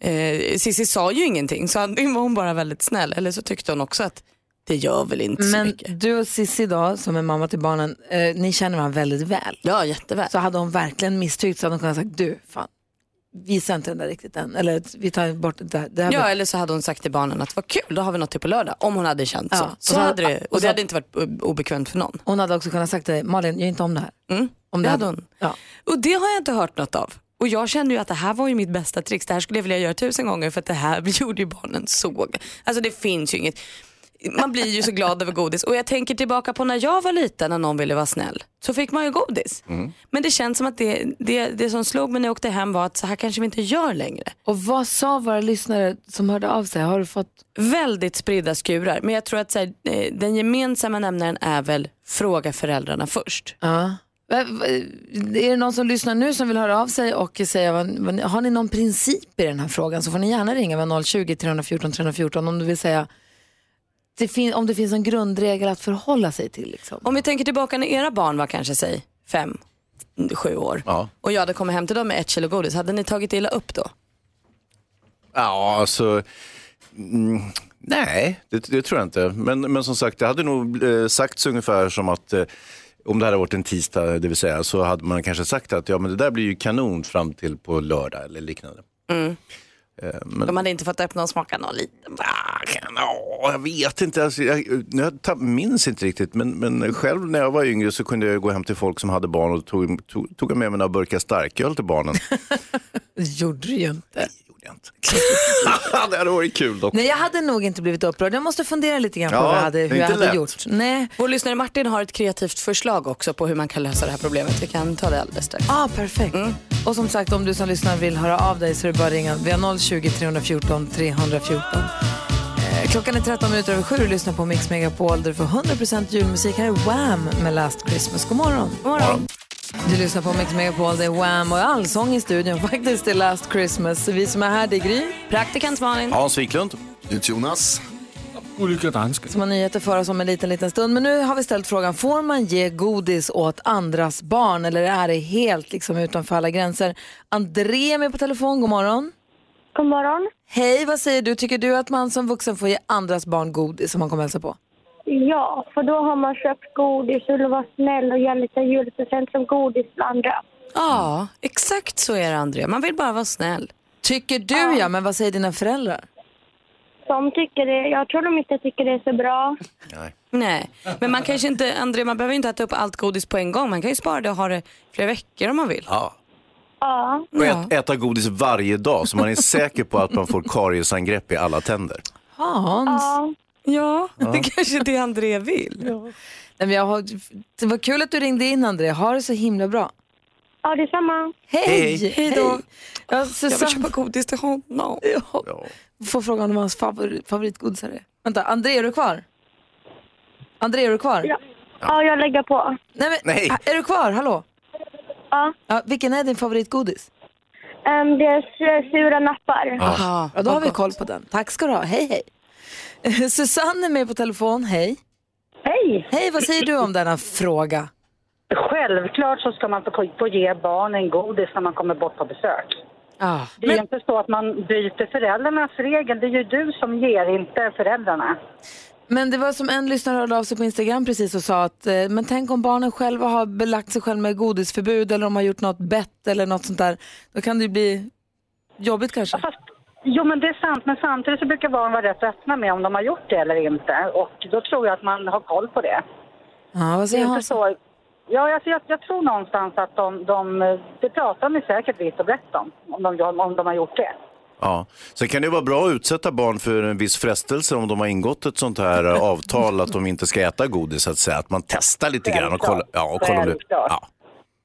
S5: Eh, Cissi sa ju ingenting så antingen var hon bara väldigt snäll eller så tyckte hon också att det gör väl inte så
S1: Men
S5: mycket.
S1: du och Sissi då, som är mamma till barnen, eh, ni känner varandra väldigt väl.
S5: Ja, jätteväl.
S1: Så hade hon verkligen misstyckt så hade hon kunnat säga, du, fan, visa inte den där riktigt än. Eller vi tar bort det där. Det här
S5: Ja
S1: var-
S5: eller så hade hon sagt till barnen att vad kul, då har vi något till på lördag. Om hon hade känt
S1: Ja,
S5: så.
S1: och
S5: så,
S1: så-
S5: hade det,
S1: och
S5: och
S1: så-
S5: det hade inte varit o- obekvämt för någon.
S1: Hon hade också kunnat sagt till dig, Malin, gör inte om det här. Om
S5: det
S1: det
S5: hade
S1: hade-
S5: hon. Och det har jag inte hört något av. Och jag kände ju att det här var ju mitt bästa trix. Det här skulle jag vilja göra tusen gånger för att det här gjorde ju barnen såg. Alltså det finns ju inget. Man blir ju så glad över godis. Och jag tänker tillbaka på när jag var liten när någon ville vara snäll. Så fick man ju godis. Men det känns som att det, det, det som slog mig när jag åkte hem var att så här kanske vi inte gör längre.
S1: Och vad sa våra lyssnare som hörde av sig? Har du fått...
S5: Väldigt spridda skurar. Men jag tror att så här, eh, den gemensamma nämnaren är väl fråga föräldrarna först.
S1: Ja. Va- va- Är det någon som lyssnar nu som vill höra av sig och säga, vad- vad- har ni någon princip i den här frågan så får ni gärna ringa med 020 314 314 om du vill säga det fin- om det finns en grundregel att förhålla sig till. Liksom.
S5: Om vi tänker tillbaka när era barn var kanske säg fem, sju år och jag hade kommit hem till dem med ett kilo godis, hade ni tagit illa upp då?
S3: Ja, alltså... Mm, nej, det, det tror jag inte. Men, men som sagt, det hade nog eh, sagts ungefär som att eh, om det hade varit en tisdag, det vill säga, så hade man kanske sagt att ja, men det där blir ju kanon fram till på lördag eller liknande.
S1: Mm.
S3: Eh, men-
S5: De hade inte fått öppna och smaka någon liten.
S3: Ja, jag vet inte. Alltså, jag, jag tapp- minns inte riktigt. Men, men själv när jag var yngre så kunde jag ju gå hem till folk som hade barn och tog, tog, tog jag med mig några burkar starköl till barnen.
S1: Det gjorde du ju inte.
S3: det hade varit kul dock.
S1: Nej, jag hade nog inte blivit upprörd. Jag måste fundera lite grann på
S3: Ja,
S1: vad jag hade,
S3: det är
S1: hur jag
S3: inte
S1: hade
S3: lätt.
S1: gjort. Nej.
S5: Vår lyssnare Martin har ett kreativt förslag också på hur man kan lösa det här problemet. Vi kan ta det alldeles strax. Mm.
S1: Ah, perfekt. Och som sagt, om du som lyssnar vill höra av dig så är det bara att ringa. Vi har 020 314 314. Eh, Klockan är 13 minuter över sju och du lyssnar på Mix Megapol där du får 100% julmusik. Här är Wham! med Last Christmas. God morgon. God morgon. Du lyssnar på Mix Megapol, det är Wham! och allsång i studion faktiskt till Last Christmas. Så vi som är här, det är Gry.
S5: Praktikant Malin.
S3: Hans Wiklund.
S12: Jonas.
S4: Olika dansker.
S1: som har nyheter för oss om en liten, liten stund. Men nu har vi ställt frågan, får man ge godis åt andras barn eller är det helt liksom utanför alla gränser? André är med på telefon, god morgon.
S17: God morgon.
S1: Hej, vad säger du? Tycker du att man som vuxen får ge andras barn godis som man kommer hälsa på?
S17: Ja, för då har man köpt godis och vill vara snäll och ge lite julpresent som godis till andra.
S5: Ja, exakt så är det André. Man vill bara vara snäll.
S1: Tycker du ja, men vad säger dina föräldrar?
S17: De tycker det, jag tror de inte tycker det är så bra.
S5: Nej, men man kanske inte, André, man behöver inte äta upp allt godis på en gång. Man kan ju spara det och ha det flera veckor om man vill.
S3: Ja.
S17: Ja.
S3: Och ät, äta godis varje dag så man är säker på att man får kariesangrepp i alla tänder.
S1: Hans?
S17: Ja.
S5: Ja,
S3: Ja.
S5: det kanske är det André vill.
S1: Nej, men jag har... Det var kul att du ringde in, André. Ha det så himla bra.
S17: Ja, detsamma.
S1: Hej!
S17: Hej. Hej då.
S1: Ja,
S17: Jag vill
S1: Susanne...
S17: köpa
S5: godis till honom.
S1: Ja. Får fråga honom vad hans favor- favoritgodis är. Vänta, André, är du kvar? André, är du kvar? Ja,
S17: ja jag lägger på.
S1: Nej, men,
S17: Nej.
S1: Är du kvar? Hallå?
S17: Ja.
S1: Vilken är din favoritgodis?
S17: Ehm, det är su- sura nappar.
S1: Aha. Ja, då har vi koll på den. Tack ska du ha. Hej, hej. Susanne är med på telefon. Hej.
S18: Hej.
S1: Hej, vad säger du om denna fråga?
S18: Självklart så ska man få få ge barnen godis när man kommer bort på besök.
S1: Ja.
S18: Det är ju inte så att man byter föräldrarnas regel. Det är ju du som ger, inte föräldrarna.
S1: Men det var som en lyssnare hörde av sig på Instagram precis och sa att eh, men tänk om barnen själva har belagt sig själva med godisförbud eller om de har gjort något bett eller något sånt där. Då kan det ju bli jobbigt kanske.
S18: Jo, men det är sant. Men samtidigt så brukar barn vara rätt öppna med om de har gjort det eller inte. Och då tror jag att man har koll på det.
S1: Ja, vad
S18: Det är
S1: säger
S18: inte
S1: Hans?
S18: så... Ja, alltså jag, jag tror någonstans att de, de, det pratar de säkert vitt och brett om, om de, om de har gjort det.
S3: Ja. Sen kan det vara bra att utsätta barn för en viss frestelse om de har ingått ett sånt här eh, avtal att de inte ska äta godis, så att, säga. att man testar lite grann och kollar, ja, och kollar om det-
S18: Självklart.
S3: Ja.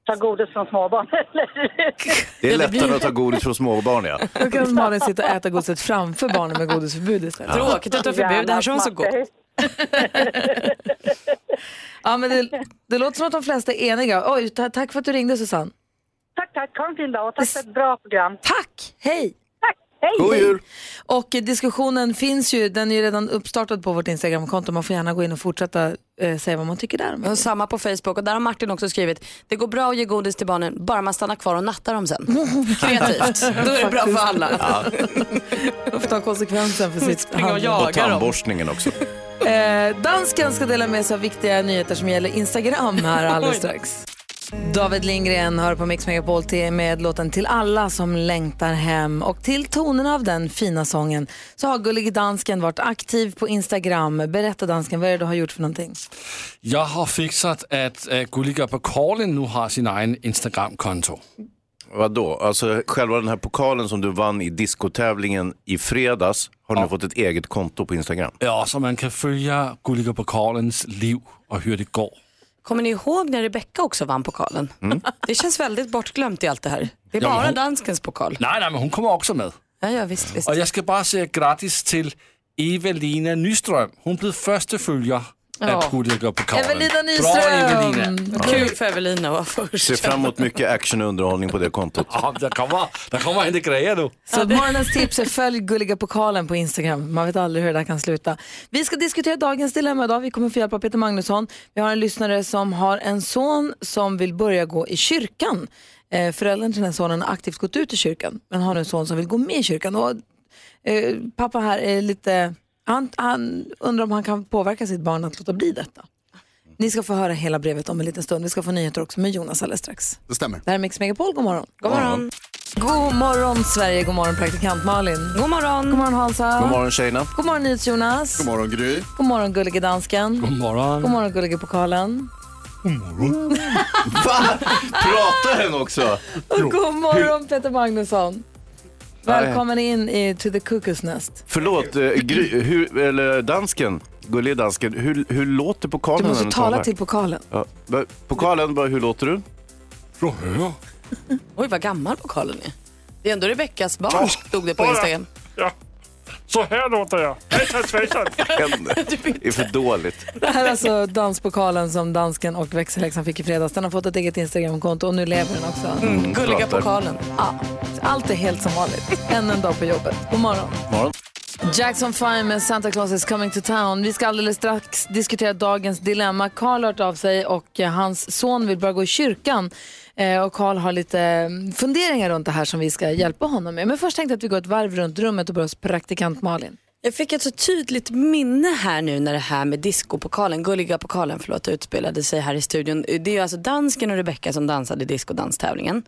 S16: ta godis från småbarn.
S3: Det är
S1: Ja, det
S3: lättare
S1: blir-
S3: att ta godis från småbarn, ja.
S1: Då kan Malin sitta och äta godiset framför barnen med godisförbud istället.
S3: Ja. Tråkigt
S5: att du har förbud, det här känns så gott.
S1: Ja, men det, det låter som att de flesta är eniga. Oj, ta- tack för att du ringde Susanne.
S16: Tack, tack. Ha en fin dag och tack för ett bra program.
S1: Tack! Hej!
S16: Tack! Hej!
S1: God jul! Och eh, diskussionen finns ju, den är ju redan uppstartad på vårt Instagramkonto. Man får gärna gå in och fortsätta eh, säga vad man tycker där.
S5: Och samma på Facebook och där har Martin också skrivit det går bra att ge godis till barnen bara man stannar kvar och nattar dem sen. Kreativt, då är det bra för alla.
S1: Man får ta konsekvensen för sitt
S5: Springa och jaga
S3: Och tandborstningen också.
S1: Eh, dansken ska dela med sig av viktiga nyheter som gäller Instagram här alldeles
S5: Oj då.
S1: strax. David Lindgren hör på Mix Megapol till- med låten Till alla som längtar hem. Och till tonen av den fina sången så har Gullig Dansken varit aktiv på Instagram. Berätta Dansken, vad är det du har gjort för någonting?
S4: Jeg har fikset, at uh, Gulliger på Korlen nu har sin egen Instagram-konto.
S3: Vadå? Alltså själva den här pokalen som du vann i diskotävlingen i fredags har nu fått ett eget konto på Instagram.
S4: Ja, så man kan följa Gulliger på Korlens liv och hur det går.
S5: Kommer ni ihåg när Rebecca också vann pokalen? Det känns väldigt bortglömt i allt det här. Det är
S4: Mm. Ja, men
S5: bara
S4: hon-
S5: danskens pokal.
S4: Nej, nej, men hon kommer också med.
S5: Ja, ja visst, visst.
S4: Och jag ska bara säga grattis till Evelina Nyström. Hon blev första följare
S5: Ja.
S4: av Gulliger på Korlen.
S5: Evelina
S4: Bra
S5: Nyström!
S4: Evelina!
S5: Kul för Evelina att vara först.
S3: Ser fram emot mycket action och underhållning på det kontot.
S4: ja, det kommer, det kommer hända grejer nu.
S1: Så morgonens tips är följ Gulliga pokalen på Instagram. Man vet aldrig hur det där kan sluta. Vi ska diskutera dagens dilemma idag. Vi kommer få hjälp av Peter Magnusson. Vi har en lyssnare som har en son som vill börja gå i kyrkan. Eh, föräldern till den här sonen har aktivt gått ut i kyrkan men har nu en son som vill gå med i kyrkan. Och, eh, pappa här är lite... Han, han undrar om han kan påverka sitt barn att låta bli detta. Ni ska få höra hela brevet om en liten stund. Vi ska få nyheter också med Jonas alldeles strax.
S12: Det stämmer.
S1: Det här är Mix Megapol. God morgon.
S12: God morgon.
S1: God morgon Sverige, god morgon praktikant Malin.
S5: God morgon.
S1: God morgon Hansa.
S3: God morgon tjejerna.
S1: God morgon NyhetsJonas.
S12: God morgon Gry.
S1: God morgon gullige dansken.
S4: God morgon.
S1: God morgon gullige pokalen.
S3: Va? Pratar den också?
S1: Och god morgon Peter Magnusson.
S3: Nej.
S1: Välkommen in i To the Cuckoo's Nest.
S3: Förlåt, eh, Gry, hur, eller dansken, gullig dansken, hur, hur låter pokalen
S1: Du
S3: när
S1: måste tala
S3: talar?
S1: till pokalen.
S3: Ja. va- Pokalen, bara, hur låter du?
S4: Från höger.
S5: Oj, vad gammal pokalen är. Det är ändå Rebeccas barn,
S4: Ja,
S5: stod det på
S4: bara.
S5: Instagram.
S4: Så här låter jag. Hejsan svejsan.
S3: Det är för dåligt.
S1: Det här är alltså danspokalen som dansken och växelhäxan fick i fredags. Den har fått ett eget Instagramkonto och nu lever den också.
S3: Mm, Gulliga pratar. pokalen.
S1: Ja, allt är helt som vanligt. Ännu en dag på jobbet. God morgon.
S3: Morgon.
S1: Jackson 5 med Santa Claus is coming to town. Vi ska alldeles strax diskutera dagens dilemma. Karl har hört av sig och eh, hans son vill börja gå i kyrkan. Eh, Och Karl har lite eh, funderingar runt det här som vi ska hjälpa honom med. Men först tänkte jag att vi går ett varv runt rummet och börjar hos praktikant Malin.
S5: Jag fick ett så tydligt minne här nu när det här med discopokalen, gulliga pokalen förlåt, utspelade sig här i studion. Det är ju alltså dansken och Rebecca som dansade i discodanstävlingen.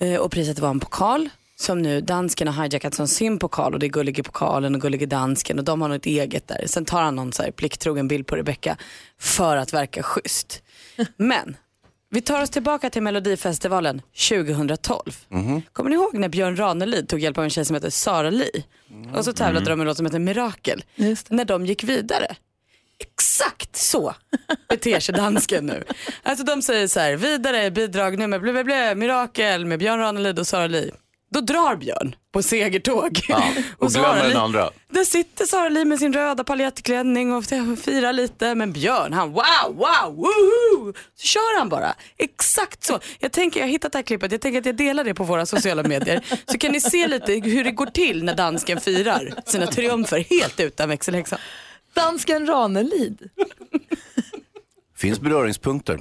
S5: Eh, Och priset var en pokal som nu dansken har hijackat som sin pokal och det är gullige pokalen och gullige dansken och de har något eget där. Sen tar han någon så här plikttrogen bild på Rebecca för att verka schysst. Men vi tar oss tillbaka till Melodifestivalen 2012. Kommer ni ihåg när Björn Ranelid tog hjälp av en tjej som heter Sara Li?
S3: Mm.
S5: Och så tävlade de med en låt som heter Mirakel. När de gick vidare. Exakt så beter sig dansken nu. Alltså de säger så här, vidare bidrag nummer blä, blä, blä, Mirakel med Björn Ranelid och Sara Li. Då drar Björn på segertåg.
S3: Och
S5: Sara
S3: glömmer
S5: Li-
S3: den andra.
S5: där sitter Sara Li med sin röda paljettklänning och firar lite. Men Björn, han wow, wow, woohoo! Så kör han bara. Exakt så. Jag tänker, jag har hittat det här klippet. Jag tänker att jag delar det på våra sociala medier. Så kan ni se lite hur det går till när dansken firar sina triumfer helt utan växelhäxan.
S1: Dansken Ranelid.
S3: Finns beröringspunkter.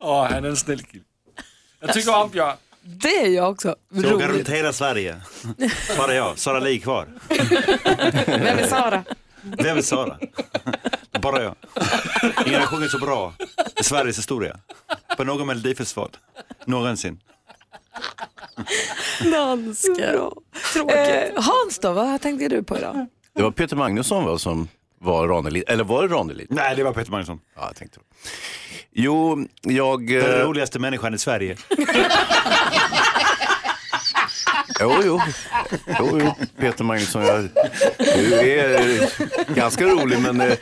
S4: Åh, han är en snäll kille. Jag tycker om Björn.
S1: Det är jag också.
S19: Tågar
S1: Roligt.
S19: runt hela Sverige. Bara jag, Sara Li kvar.
S1: Vem är Sara?
S19: Vem är Sara? Bara jag. Ingen har sjungit så bra i Sveriges historia. På någon melodifestival. Någonsin.
S5: Danskar.
S1: Eh, Hans då, vad tänkte du på idag?
S3: Det var Peter Magnusson va, som var Ranelid, eller var det Ranelid?
S19: Nej, det var Peter Magnusson.
S3: Ja, jag tänkte det. Jo, jag... eh,
S19: Den roligaste människan i Sverige.
S3: Jo, jo. jo, jo. Peter Magnusson, jag, du är ganska rolig men eh,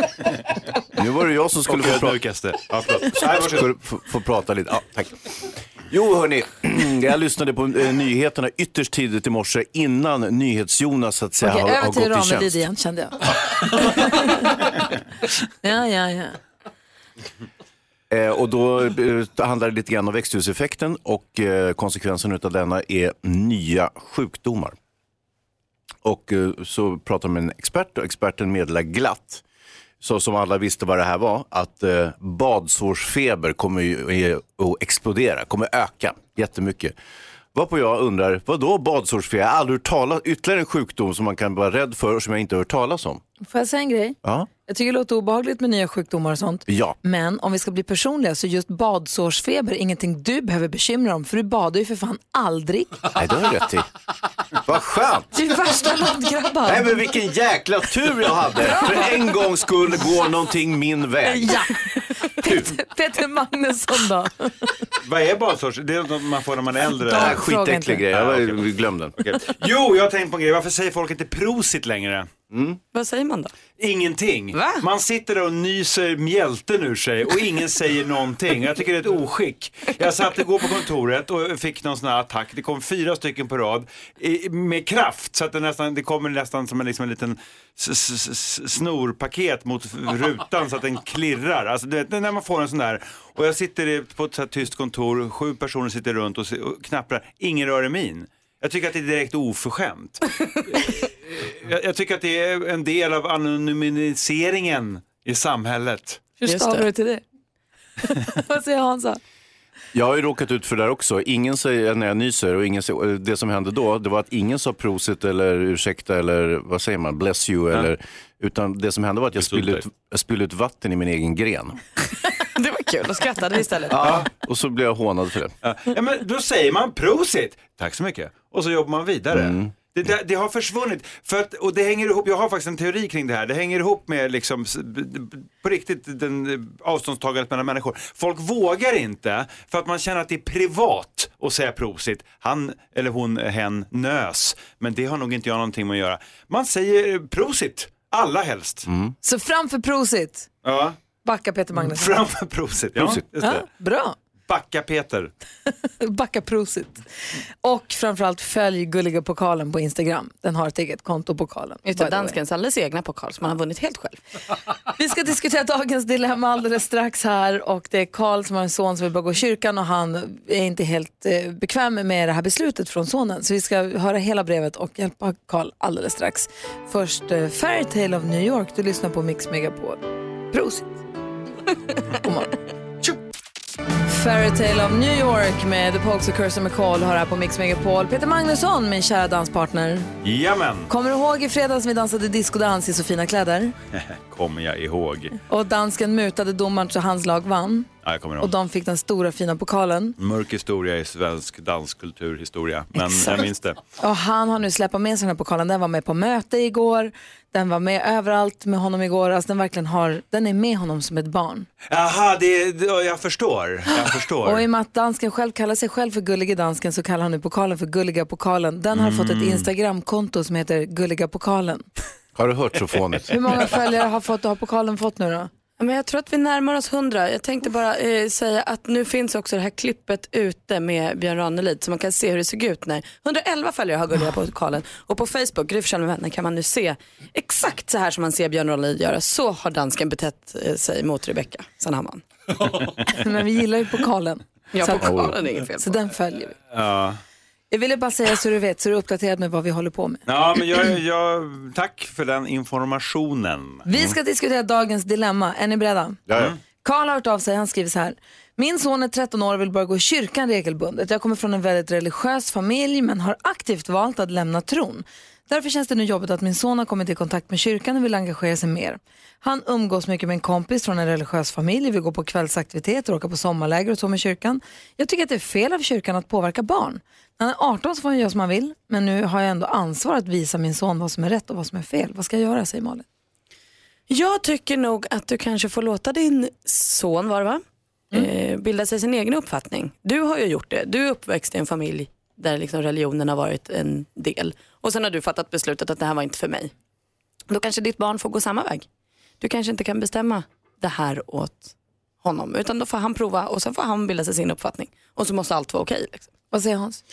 S3: Nu var det jag som skulle
S19: Och
S3: få
S19: ödmjukaste. Ja, förlåt. Nej,
S3: prata.
S19: varsågod.
S3: Skulle få, få prata lite. Ja, tack. Jo, hörni. Jag lyssnade på eh, nyheterna ytterst tidigt i morse innan NyhetsJonas så att säga
S1: Okej,
S3: har, har
S1: över till
S3: gått i
S1: Ramelid
S3: tjänst.
S1: igen kände jag. ja, ja, ja.
S3: Eh, och då eh, handlar det lite grann om växthuseffekten och eh, konsekvensen av denna är nya sjukdomar. Och eh, så pratar man med en expert och experten meddelar glatt, så som alla visste vad det här var, att eh, badsårsfeber kommer ju eh, att explodera, kommer öka jättemycket. Varpå jag undrar, vad då badsårsfeber? Jag har aldrig hört talas ytterligare en sjukdom som man kan vara rädd för och som jag inte har hört talas om.
S1: Får jag säga en grej?
S3: Ja,
S1: Jag tycker det låter obehagligt med nya sjukdomar och sånt.
S3: ja.
S1: Men om vi ska bli personliga så just badsårsfeber är ingenting du behöver bekymra dig om för du badar ju för fan aldrig.
S3: Nej, det har du rätt i. Vad skönt!
S1: Du är värsta landgrabbar.
S3: Nej men vilken jäkla tur jag hade. För en gångs skull går någonting min väg.
S1: Ja. Peter, Peter Magnusson då?
S19: Vad är badsorts? Det är något man får när man är äldre.
S3: Det här är en skitäcklig grej, jag var- glöm den.
S19: Jo, jag har tänkt på en grej. Varför säger folk inte prosit längre?
S5: Vad säger man då?
S19: Ingenting. Man sitter där och nyser mjälten ur sig och ingen säger någonting. Jag tycker det är ett oskick. Jag satt igår på kontoret och fick någon sån här attack. Det kom fyra stycken på rad i- med kraft så att det, nästan, det kommer nästan som en, liksom en liten s- s- s- snorpaket mot f- rutan så att den klirrar. Alltså, du vet, när man får en sån där. Och jag sitter i- på ett så här tyst kontor, sju personer sitter runt och, se- och knapprar. Ingen rör i min. Jag tycker att det är direkt oförskämt. Jag, jag tycker att det är en del av anonymiseringen i samhället.
S1: Hur stavar du till det? Vad säger Hansa?
S3: Jag har ju råkat ut för det där också. Ingen säger när jag nyser och ingen säger, det som hände då det var att ingen sa prosit eller ursäkta eller vad säger man, bless you eller utan det som hände var att jag spillde ut, jag spillde ut vatten i min egen gren.
S5: Det var kul, då skrattade vi istället.
S3: Ja, och så blev jag hånad för det.
S19: Ja, men då säger man prosit, tack så mycket, och så jobbar man vidare.
S3: Mm.
S19: Det, det, det har försvunnit, för att, och det hänger ihop, jag har faktiskt en teori kring det här, det hänger ihop med liksom, s- b- b- på riktigt den, eh, avståndstagandet mellan människor. Folk vågar inte för att man känner att det är privat att säga prosit, han eller hon, hen, nös, men det har nog inte jag någonting med att göra. Man säger eh, prosit, alla helst.
S1: Så framför prosit,
S19: Ja.
S1: backa Peter Magnusson.
S19: Mm, Framför prosit, ja,
S1: Prosit.
S19: Just det.
S1: Ja, bra.
S19: Backa Peter.
S1: Backa prosit. Och framförallt följ Gulliga pokalen på Instagram. Den har ett eget konto, pokalen.
S5: Just det,
S1: by the way.
S5: danskens alldeles egna pokal som han har vunnit helt själv.
S1: Vi ska diskutera dagens dilemma alldeles strax här och det är Karl som har en son som vill börja gå i kyrkan och han är inte helt eh, bekväm med det här beslutet från sonen. Så vi ska höra hela brevet och hjälpa Karl alldeles strax. Först eh, Fairytale of New York, du lyssnar på Mix Megapol. Prosit! God morgon. Fairytale of New York med The Pogues och Kirsten McCall har här på Mix Megapol. Peter Magnusson, min kära danspartner.
S19: Jamen.
S1: Kommer du ihåg i fredags vi dansade discodans i så fina kläder?
S19: kommer jag ihåg.
S1: Och dansken mutade domaren så hans lag vann.
S19: Ja, jag kommer
S1: Och
S19: ihåg.
S1: de fick den stora fina pokalen.
S19: Mörk historia i svensk danskulturhistoria, men
S1: Exakt.
S19: jag minns det.
S1: Och han har nu släpat med sig den här pokalen. Den var med på möte igår. Den var med överallt med honom igår. Alltså den verkligen har, den är med honom som ett barn.
S19: Jaha, det, det, jag förstår. Jag förstår.
S1: Och i och med att dansken själv kallar sig själv för Gullige dansken så kallar han nu pokalen för Gulliga pokalen. Den har fått ett
S3: Mm.
S1: Instagramkonto som heter Gulliga pokalen.
S3: Har du hört så fånigt?
S1: Hur många följare har, fått, har pokalen fått nu då?
S5: Ja, Men jag tror att vi närmar oss 100. Jag tänkte bara eh, säga att nu finns också det här klippet ute med Björn Ranelid så man kan se hur det såg ut när 111 följare har Gulliga pokalen och på Facebook, Gry Forssell med vänner, kan man nu se exakt så här som man ser Björn Ranelid göra. Så har dansken betett eh, sig mot Rebecca Sandhammar.
S1: Men vi gillar ju pokalen.
S5: Ja,
S1: Så att-
S5: pokalen är inget fel på.
S1: Så den följer vi.
S19: Ja.
S1: Jag ville bara säga så du vet, så du är uppdaterad med vad vi håller på med.
S19: ja, men jag, jag, tack för den informationen. Mm.
S1: Vi ska diskutera dagens dilemma. Är ni beredda?
S19: Ja, ja.
S1: Karl har hört av sig. Han skriver så här. Min son är 13 år och vill börja gå i kyrkan regelbundet. Jag kommer från en väldigt religiös familj men har aktivt valt att lämna tron. Därför känns det nu jobbigt att min son har kommit i kontakt med kyrkan och vill engagera sig mer. Han umgås mycket med en kompis från en religiös familj, vill gå på kvällsaktiviteter, åka på sommarläger och så med kyrkan. Jag tycker att det är fel av kyrkan att påverka barn. När han är 18 så får han göra som han vill, men nu har jag ändå ansvar att visa min son vad som är rätt och vad som är fel. Vad ska jag göra, säger Malin.
S5: Jag tycker nog att du kanske får låta din son, var det va?
S1: Mm.
S5: Eh, bilda sig sin egen uppfattning. Du har ju gjort det. Du är uppväxt i en familj där liksom religionen har varit en del. Och sen har du fattat beslutet att det här var inte för mig. Då kanske ditt barn får gå samma väg. Du kanske inte kan bestämma det här åt honom. Utan då får han prova och sen får han bilda sig sin uppfattning. Och så måste allt vara okej. liksom.
S1: Vad säger Hans?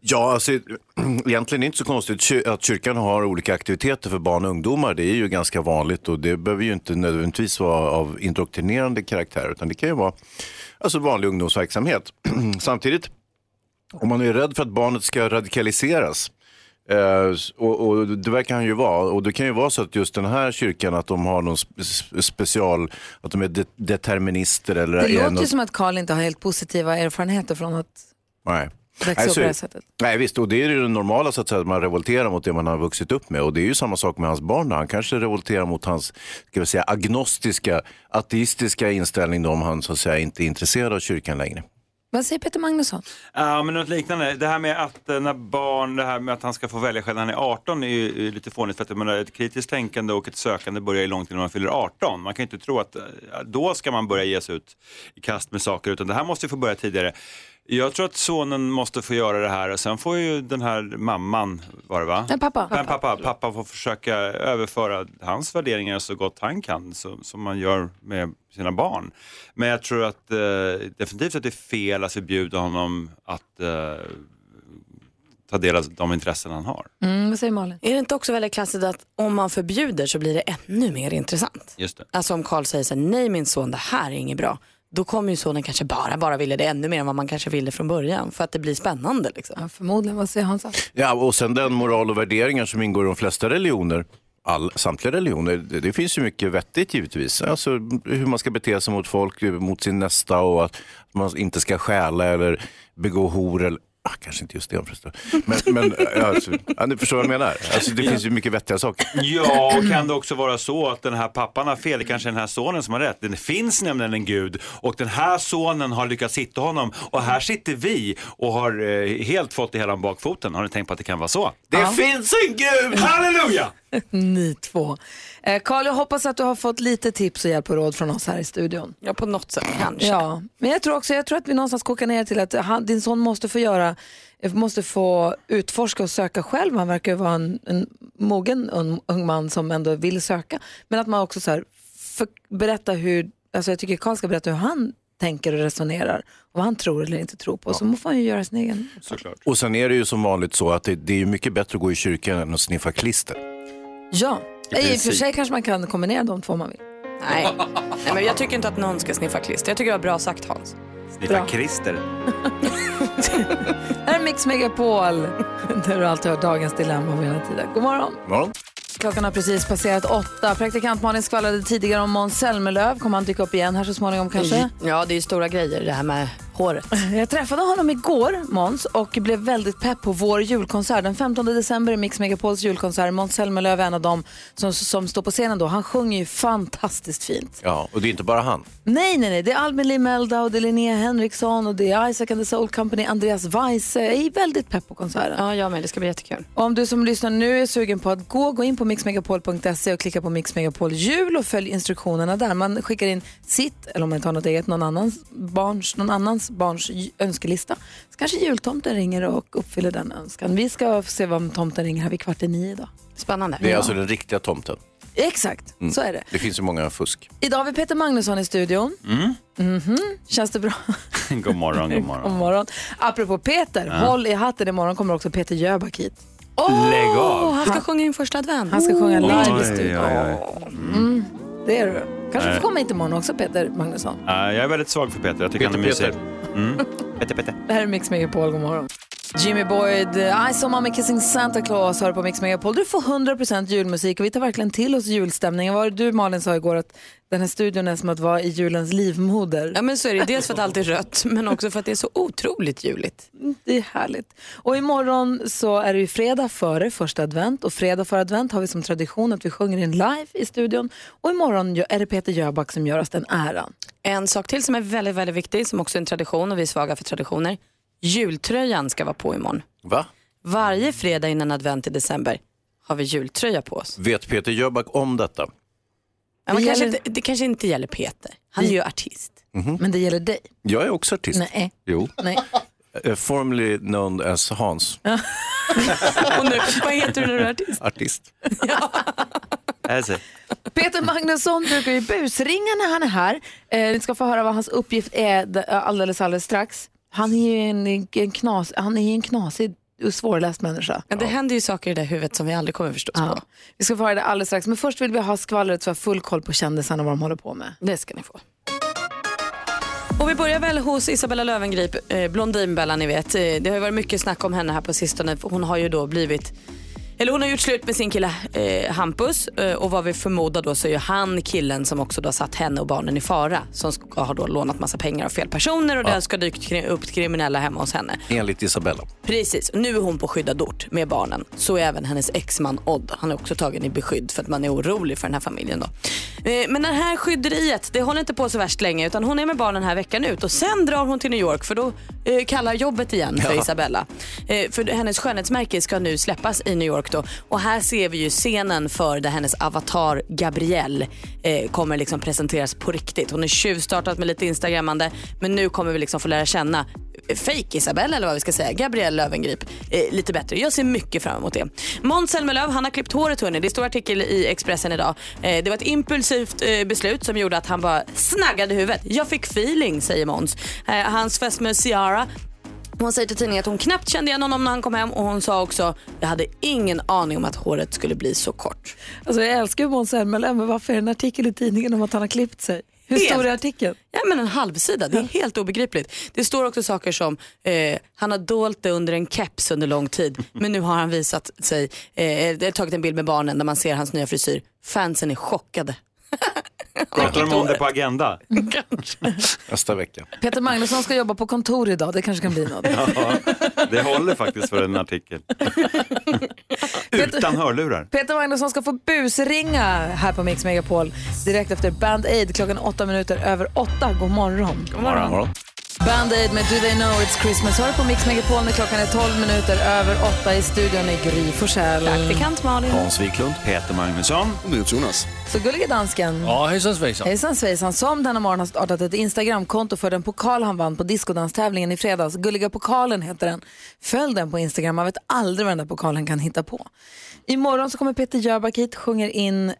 S3: Ja, alltså, egentligen är det inte så konstigt Ky- att kyrkan har olika aktiviteter för barn och ungdomar. Det är ju ganska vanligt och det behöver ju inte nödvändigtvis vara av indoktrinerande karaktär utan det kan ju vara alltså, vanlig ungdomsverksamhet. Samtidigt, om man är rädd för att barnet ska radikaliseras eh, och, och det verkar han ju vara. Och det kan ju vara så att just den här kyrkan att de har någon spe- special, att de är de- determinister eller
S1: Det
S3: är
S1: låter ju
S3: något-
S1: som att Carl inte har helt positiva erfarenheter från att
S3: Nej.
S1: Växa upp på det här sättet.
S3: nej, visst. Och det är ju det normala så att säga, att man revolterar mot det man har vuxit upp med. Och det är ju samma sak med hans barn. Han kanske revolterar mot hans ska vi säga, agnostiska, ateistiska inställning då, om han så att säga, inte är intresserad av kyrkan längre.
S1: Vad säger Peter Magnusson?
S19: Ja, men något liknande. Det här med att eh, när barn, det här med att han ska få välja själv när han är 18 är ju eh, lite fånigt för att jag menar, ett kritiskt tänkande och ett sökande börjar ju långt innan man fyller 18. Man kan ju inte tro att eh, då ska man börja ge sig ut i kast med saker utan det här måste ju få börja tidigare. Jag tror att sonen måste få göra det här och sen får ju den här mamman, var det va?
S1: Nej, pappa.
S19: Men pappa, pappa får försöka överföra hans värderingar så gott han kan, så, som man gör med sina barn. Men jag tror att eh, definitivt att det är fel att förbjuda honom att eh, ta del av de intressen han har.
S1: Mm, vad säger Malin?
S5: Är det inte också väldigt klassiskt att om man förbjuder så blir det ännu mer intressant?
S19: Just det.
S5: Alltså om Carl säger så här, nej min son det här är inget bra. Då kommer ju sonen kanske bara, bara vilja det ännu mer än vad man kanske ville från början. För att det blir spännande liksom. Ja,
S1: förmodligen. Vad säger Hansa?
S3: Ja, och sen den moral och värderingar som ingår i de flesta religioner, all, samtliga religioner, det, det finns ju mycket vettigt givetvis. Alltså hur man ska bete sig mot folk, mot sin nästa och att man inte ska stjäla eller begå hor eller Ah, kanske inte just det, förstår. men, men alltså, ja, ni förstår vad jag menar. Alltså, det finns ju mycket vettiga saker.
S19: Ja, och kan det också vara så att den här pappan har fel, det kanske är den här sonen som har rätt. Det finns nämligen en gud och den här sonen har lyckats hitta honom och här sitter vi och har eh, helt fått det hela om bakfoten. Har ni tänkt på att det kan vara så? Det
S1: Ja.
S19: finns en gud! Halleluja!
S1: Ni två. Eh, Carl, jag hoppas att du har fått lite tips och hjälp och råd från oss här i studion.
S5: Ja, på något sätt kanske.
S1: Ja, men jag tror också, jag tror att vi någonstans kokar ner till att han, din son måste få göra, måste få utforska och söka själv. Han verkar ju vara en, en mogen ung, ung man som ändå vill söka. Men att man också så här, för, berätta hur, alltså jag tycker Carl ska berätta hur han tänker och resonerar och vad han tror eller inte tror på. Så får han ju göra sin egen.
S3: Och sen är det ju som vanligt så att det, det är ju mycket bättre att gå i kyrkan än att sniffa klister.
S1: Ja,
S3: I
S1: i och för
S3: princip.
S1: sig kanske man kan kombinera de två om man vill.
S5: Nej. nej, men jag tycker inte att någon ska sniffa klister. Jag tycker det var bra sagt Hans.
S19: Sniffa klister.
S1: Här är Mix Megapol, där du alltid hör dagens dilemma på hela tiden. God morgon!
S3: Morgon.
S1: Klockan har precis passerat åtta. Praktikant Malin skvallrade tidigare om Måns Zelmerlöw. Kommer han dyka upp igen här så småningom kanske?
S5: Mm. Ja, det är ju stora grejer det här med håret.
S1: Jag träffade honom igår, Måns, och blev väldigt pepp på vår julkonsert. Den 15 december är Mix Megapols julkonsert. Måns Zelmerlöw är en av dem som, som står på scenen då. Han sjunger ju fantastiskt fint.
S3: Ja, och det är inte bara han.
S1: Nej, nej, nej. Det är Albin Limelda och det är Linnea Henriksson och det är Isaac and the Soul Company, Andreas Weise. Jag är väldigt pepp på konserten.
S5: Ja, jag med. Det ska bli jättekul.
S1: Och om du som lyssnar nu är sugen på att gå, gå in på mixmegapol.se och klicka på Mix Megapol jul och följ instruktionerna där. Man skickar in sitt, eller om man inte har något eget, någon annans barns, någon annans barns j- önskelista. Så kanske jultomten ringer och uppfyller den önskan. Vi ska se vad tomten ringer här vid kvart i nio idag.
S5: Spännande.
S3: Det är alltså den riktiga tomten.
S1: Exakt,
S3: Mm.
S1: så är det.
S3: Det finns ju många fusk.
S1: Idag har vi Peter Magnusson i studion.
S3: Mm.
S1: Mhm. Känns det bra?
S19: God morgon, god morgon.
S1: God morgon. Apropå Peter,
S19: Ja.
S1: håll i hatten. Imorgon kommer också Peter Jöback hit.
S19: Lägg av.
S5: han ska sjunga in första advent.
S1: Han ska sjunga live i
S19: Oj, Eh.
S1: studion.
S19: oj, oj.
S1: Mm, det är du. Kanske
S19: Nej.
S1: får komma hit imorgon också, Peter Magnusson.
S19: Äh, jag är väldigt svag för Peter, jag tycker han är mysig. Mm. Peter, Peter.
S1: Det här är Mix Megapol, god morgon. Jimmy Boyd, I saw mommy kissing Santa Claus hör på Mix Megapol. Du får 100% julmusik och vi tar verkligen till oss julstämningen. Vad var det du Malin sa igår att den här studion är som att vara i julens livmoder?
S5: Ja, men så är det. Dels för att allt är rött, men också för att det är så otroligt juligt.
S1: Det är härligt. Och imorgon så är det ju fredag före första advent och fredag före advent har vi som tradition att vi sjunger in live i studion och imorgon gö- är det Peter Jöback som gör oss den äran.
S5: En sak till som är väldigt, väldigt viktig, som också är en tradition och vi är svaga för traditioner. Jultröjan ska vara på imorgon.
S3: Va?
S5: Varje fredag innan advent i december har vi jultröja på oss.
S3: Vet Peter Jöback om detta?
S5: Men man
S1: Det
S5: kanske
S1: gäller- Mhm.
S5: inte, det kanske inte gäller Peter. Han är ju artist.
S1: Men det gäller dig.
S3: Jag är också artist.
S1: Nej.
S3: Jo.
S1: Nej.
S3: Eh, Formerly known as Hans.
S5: Och nu, vad heter du när du är artist?
S19: Alltså.
S3: Artist.
S1: Peter Magnusson brukar ju busringa när han är här. Eh, ni ska få höra vad hans uppgift är d- alldeles, alldeles strax. Han är ju en, en, knas, han är ju en knasig och svårläst människa.
S5: Men det händer ju saker i det huvudet som vi aldrig kommer förstås på.
S1: Vi ska få höra det alldeles strax, men först vill vi ha skvallret för att ha full koll på kändisarna och vad de håller på med.
S5: Det ska ni få. Och vi börjar väl hos Isabella Löwengrip, eh, Blondinbella ni vet. Eh, Det har ju varit mycket snack om henne här på sistone. för Hon har ju då blivit, eller hon har gjort slut med sin kille eh, Hampus eh, och vad vi förmodar då så är ju han killen som också då har satt henne och barnen i fara. Som ska ha då lånat massa pengar av fel personer och det ska dykt kri- upp kriminella hemma hos henne.
S3: Enligt Isabella.
S5: Precis, nu är hon på skyddad ort med barnen. Så är även hennes exman Odd. Han är också tagen i beskydd för att man är orolig för den här familjen. Då. Eh, Men det här skydderiet det håller inte på så värst länge utan hon är med barnen här veckan ut och sen drar hon till New York för då eh, kallar jobbet igen för
S20: Ja.
S5: Isabella. Eh, För hennes skönhetsmärke ska nu släppas i New York då och här ser vi ju scenen för där hennes avatar Gabrielle eh, kommer liksom presenteras på riktigt. Hon är tjuvstartat med lite instagrammande men nu kommer vi liksom få lära känna fake Isabella eller vad vi ska säga, Gabrielle Lövengrip eh, lite bättre. Jag ser mycket fram emot det. Måns Zelmerlöw, han har klippt håret hörni. Det står artikel i Expressen idag. Eh, det var ett impulsivt eh, beslut som gjorde att han bara snaggade huvudet. Jag fick feeling säger Måns. Eh, hans fästmö Ciara hon säger till tidningen att hon knappt kände igen honom när han kom hem och hon sa också jag hade ingen aning om att håret skulle bli så kort.
S1: Alltså jag älskar ju Måns Zelmerlöw, men varför är det en artikel i tidningen om att han har klippt sig? Hur stor är artikeln?
S5: Ja, men en halvsida. Det är helt obegripligt. Det står också saker som eh, han har dolt det under en keps under lång tid men nu har han visat sig, eh, det har tagit en bild med barnen där man ser hans nya frisyr. Fansen är chockade.
S6: Pratar de om det på Agenda?
S3: Nästa vecka.
S1: Peter Magnusson ska jobba på kontor idag, det kanske kan bli något.
S6: Ja, det håller faktiskt för en artikel. Utan hörlurar.
S1: Peter Magnusson ska få busringa här på Mix Megapol direkt efter Band Aid klockan åtta minuter över åtta. God morgon.
S21: God morgon.
S1: Band Aid med Do They Know It's Christmas. Hör på Mix Megapol när klockan är 12 minuter över åtta i studion i Gry Forssell.
S5: Praktikant Malin.
S6: Hans Wiklund. Peter Magnusson.
S12: Och Jonas.
S1: Så gullige dansken.
S22: Ja, hejsan svejsan.
S1: Hejsan svejsan, som denna morgon har startat ett Instagramkonto för den pokal han vann på discodanstävlingen i fredags. Gulliga pokalen heter den. Följ den på Instagram, man vet aldrig vad den där pokalen kan hitta på. Imorgon så kommer Peter Jöback hit, sjunger in eh,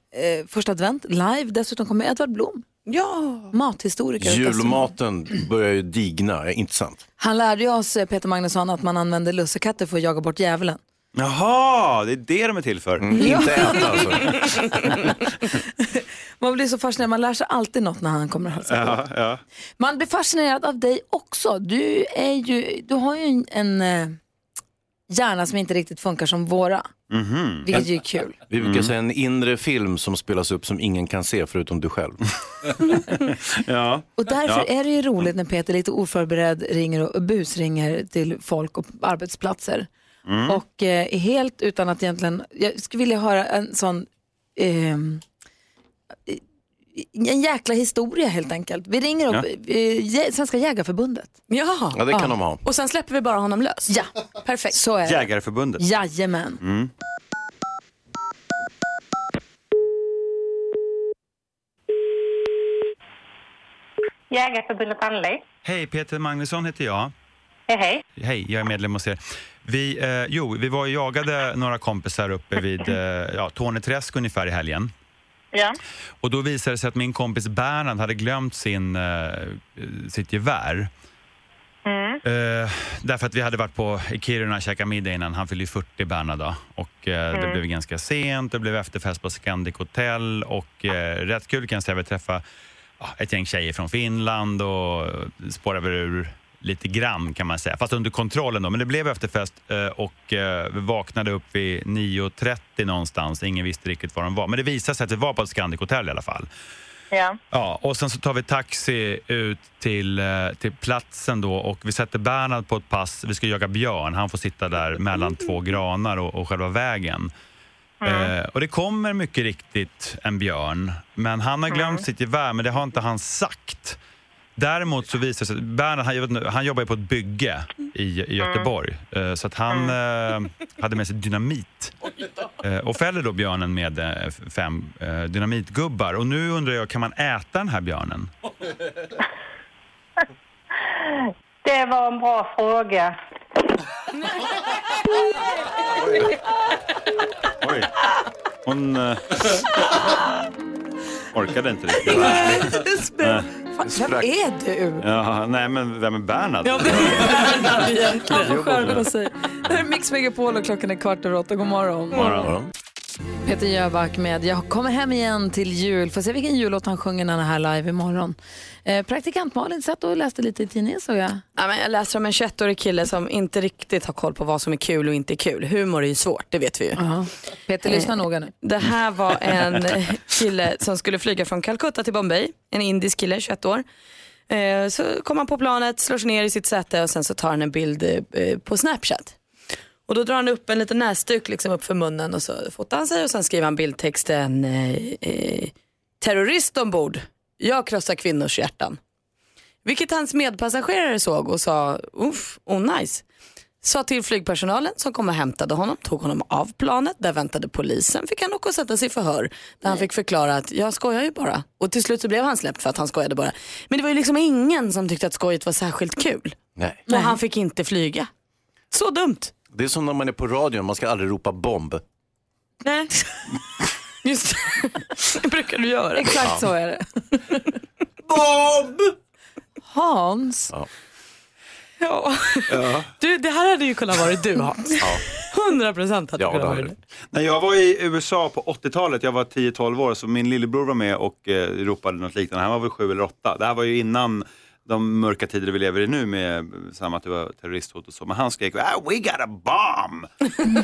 S1: första advent live. Dessutom kommer Edvard Blom,
S5: ja.
S1: mathistoriker. och
S3: Julmaten
S1: Mm.
S3: börjar ju digna, inte sant?
S1: Han lärde ju oss, eh, Peter Magnusson, att man använder lussekatter för att jaga bort djävulen.
S6: Jaha, det är det de är till för.
S1: Inte
S6: äta alltså.
S1: Man blir så fascinerad, man lär sig alltid något när han kommer och hälsar på.
S6: Ja, ja.
S1: Man blir fascinerad av dig också. Du, är ju, du har ju en, en eh, hjärna som inte riktigt funkar som våra,
S3: Mhm.
S1: vilket ju är kul.
S3: Vi
S19: Mm.
S3: brukar säga en inre film som spelas upp som ingen kan se förutom du själv.
S6: ja.
S1: Och därför är det ju roligt när Peter lite oförberedd ringer och busringer till folk och arbetsplatser.
S21: Mm.
S1: Och eh, är helt utan att egentligen, jag skulle vilja höra en sån, ehm, en jäkla historia helt enkelt. Vi ringer upp
S3: Ja.
S1: eh, Jä- Svenska Jägarförbundet.
S5: Ja.
S3: Ja, det kan de ha.
S5: Och sen släpper vi bara honom lös.
S1: Ja,
S5: perfekt.
S1: Så är det.
S6: Jägareförbundet.
S1: Jajamän.
S6: Mm.
S18: Jägareförbundet Anley.
S19: Hej, Peter Magnusson heter jag.
S18: Hej, hej.
S19: Hej, jag är medlem hos er. Vi, eh, jo, vi var och jagade några kompisar uppe vid eh, ja, Torneträsk ungefär i helgen.
S18: Ja.
S19: Och då visade det sig att min kompis Bernhard hade glömt sin, eh, sitt gevär.
S18: Mm.
S19: Eh, därför att vi hade varit på i Kiruna och käkat middag innan. Han fyllde ju 40 Bernhard då. Och eh, det
S18: Mm.
S19: blev ganska sent, det blev efterfest på Scandic Hotel och eh, rätt kul kan jag säga. Vi träffade ja, ett gäng tjejer från Finland och spårade väl ur lite grann kan man säga. Fast under kontrollen då. Men det blev efterfest eh, och eh, vi vaknade upp vid 9.30 någonstans. Ingen visste riktigt var de var. Men det visade sig att vi var på ett Scandic Hotel i alla fall.
S18: Ja.
S19: Ja, och sen så tar vi taxi ut till, eh, till platsen då och vi sätter Bernhard på ett pass. Vi ska jaga björn. Han får sitta där mellan två granar och, och själva vägen. Eh, och det kommer mycket riktigt en björn, men han har glömt sitt gevär, men det har inte han sagt. Däremot så visar det sig att Bernhard, han, jobbar nu- han jobbar ju på ett bygge i, i Göteborg, eh, så att han eh, hade med sig dynamit. Eh, och fäller då björnen med eh, f- fem eh, dynamitgubbar. Och nu undrar jag, kan man äta den här björnen?
S18: Det var en bra fråga.
S6: Oj.
S19: Hon eh, orkade inte riktigt.
S1: Nej, det spelar-
S19: Nej.
S1: Fan, vem
S19: Sprack.
S1: är du?
S19: Ja, nej, men vem är Bernhard?
S1: Ja, vem Han får
S19: Jobbar på
S1: skärpa
S19: det.
S1: sig. Det här är Mix Megapol och klockan är kvart över åtta. God morgon.
S19: Morgon.
S1: Peter Jöback med Jag kommer hem igen till jul. Får se vilken jullåt han sjunger när han är här live imorgon. Eh, praktikant Malin satt och läste lite i tidningen såg jag.
S5: Ja, men jag läser om en 21-årig kille som inte riktigt har koll på vad som är kul och inte kul. Humor är ju svårt, det vet vi ju.
S1: Peter,
S5: Eh,
S1: lyssna noga nu.
S5: Det här var en kille som skulle flyga från Calcutta till Bombay. En indisk kille, 21 år. Eh, Så kom han på planet, slår sig ner i sitt säte och sen så tar han en bild eh, på Snapchat. Och då drar han upp en liten näsduk liksom upp för munnen och så fotar han sig och sen skriver han bildtexten eh, eh, terrorist ombord, jag krossar kvinnors hjärtan. Vilket hans medpassagerare såg och sa, uff, oh nice. Sa till flygpersonalen som kom och hämtade honom, tog honom av planet, där väntade polisen, fick han åka och sätta sig i förhör. Där han fick förklara att jag skojar ju bara. Och till slut så blev han släppt för att han skojade bara. Men det var ju liksom ingen som tyckte att skojet var särskilt kul.
S3: Nej.
S5: Och han fick inte flyga. Så dumt.
S3: Det är som när man är på radion, man ska aldrig ropa bomb.
S5: Nej. Just det. det brukar du göra.
S1: Exakt så är det.
S5: Bob!
S1: Hans.
S3: Ja.
S5: Ja. Du, det här hade ju kunnat vara du Hans. 100 procent hade kunnat vara du.
S19: När jag var i USA på 80-talet, jag var 10-12 år, så min lillebror var med och eh, ropade något liknande. Han var väl 7 eller 8. Det här var ju innan de mörka tider vi lever i nu med eh, samma att det var terroristhot och så. Men han skrek ah, “We got a bomb!”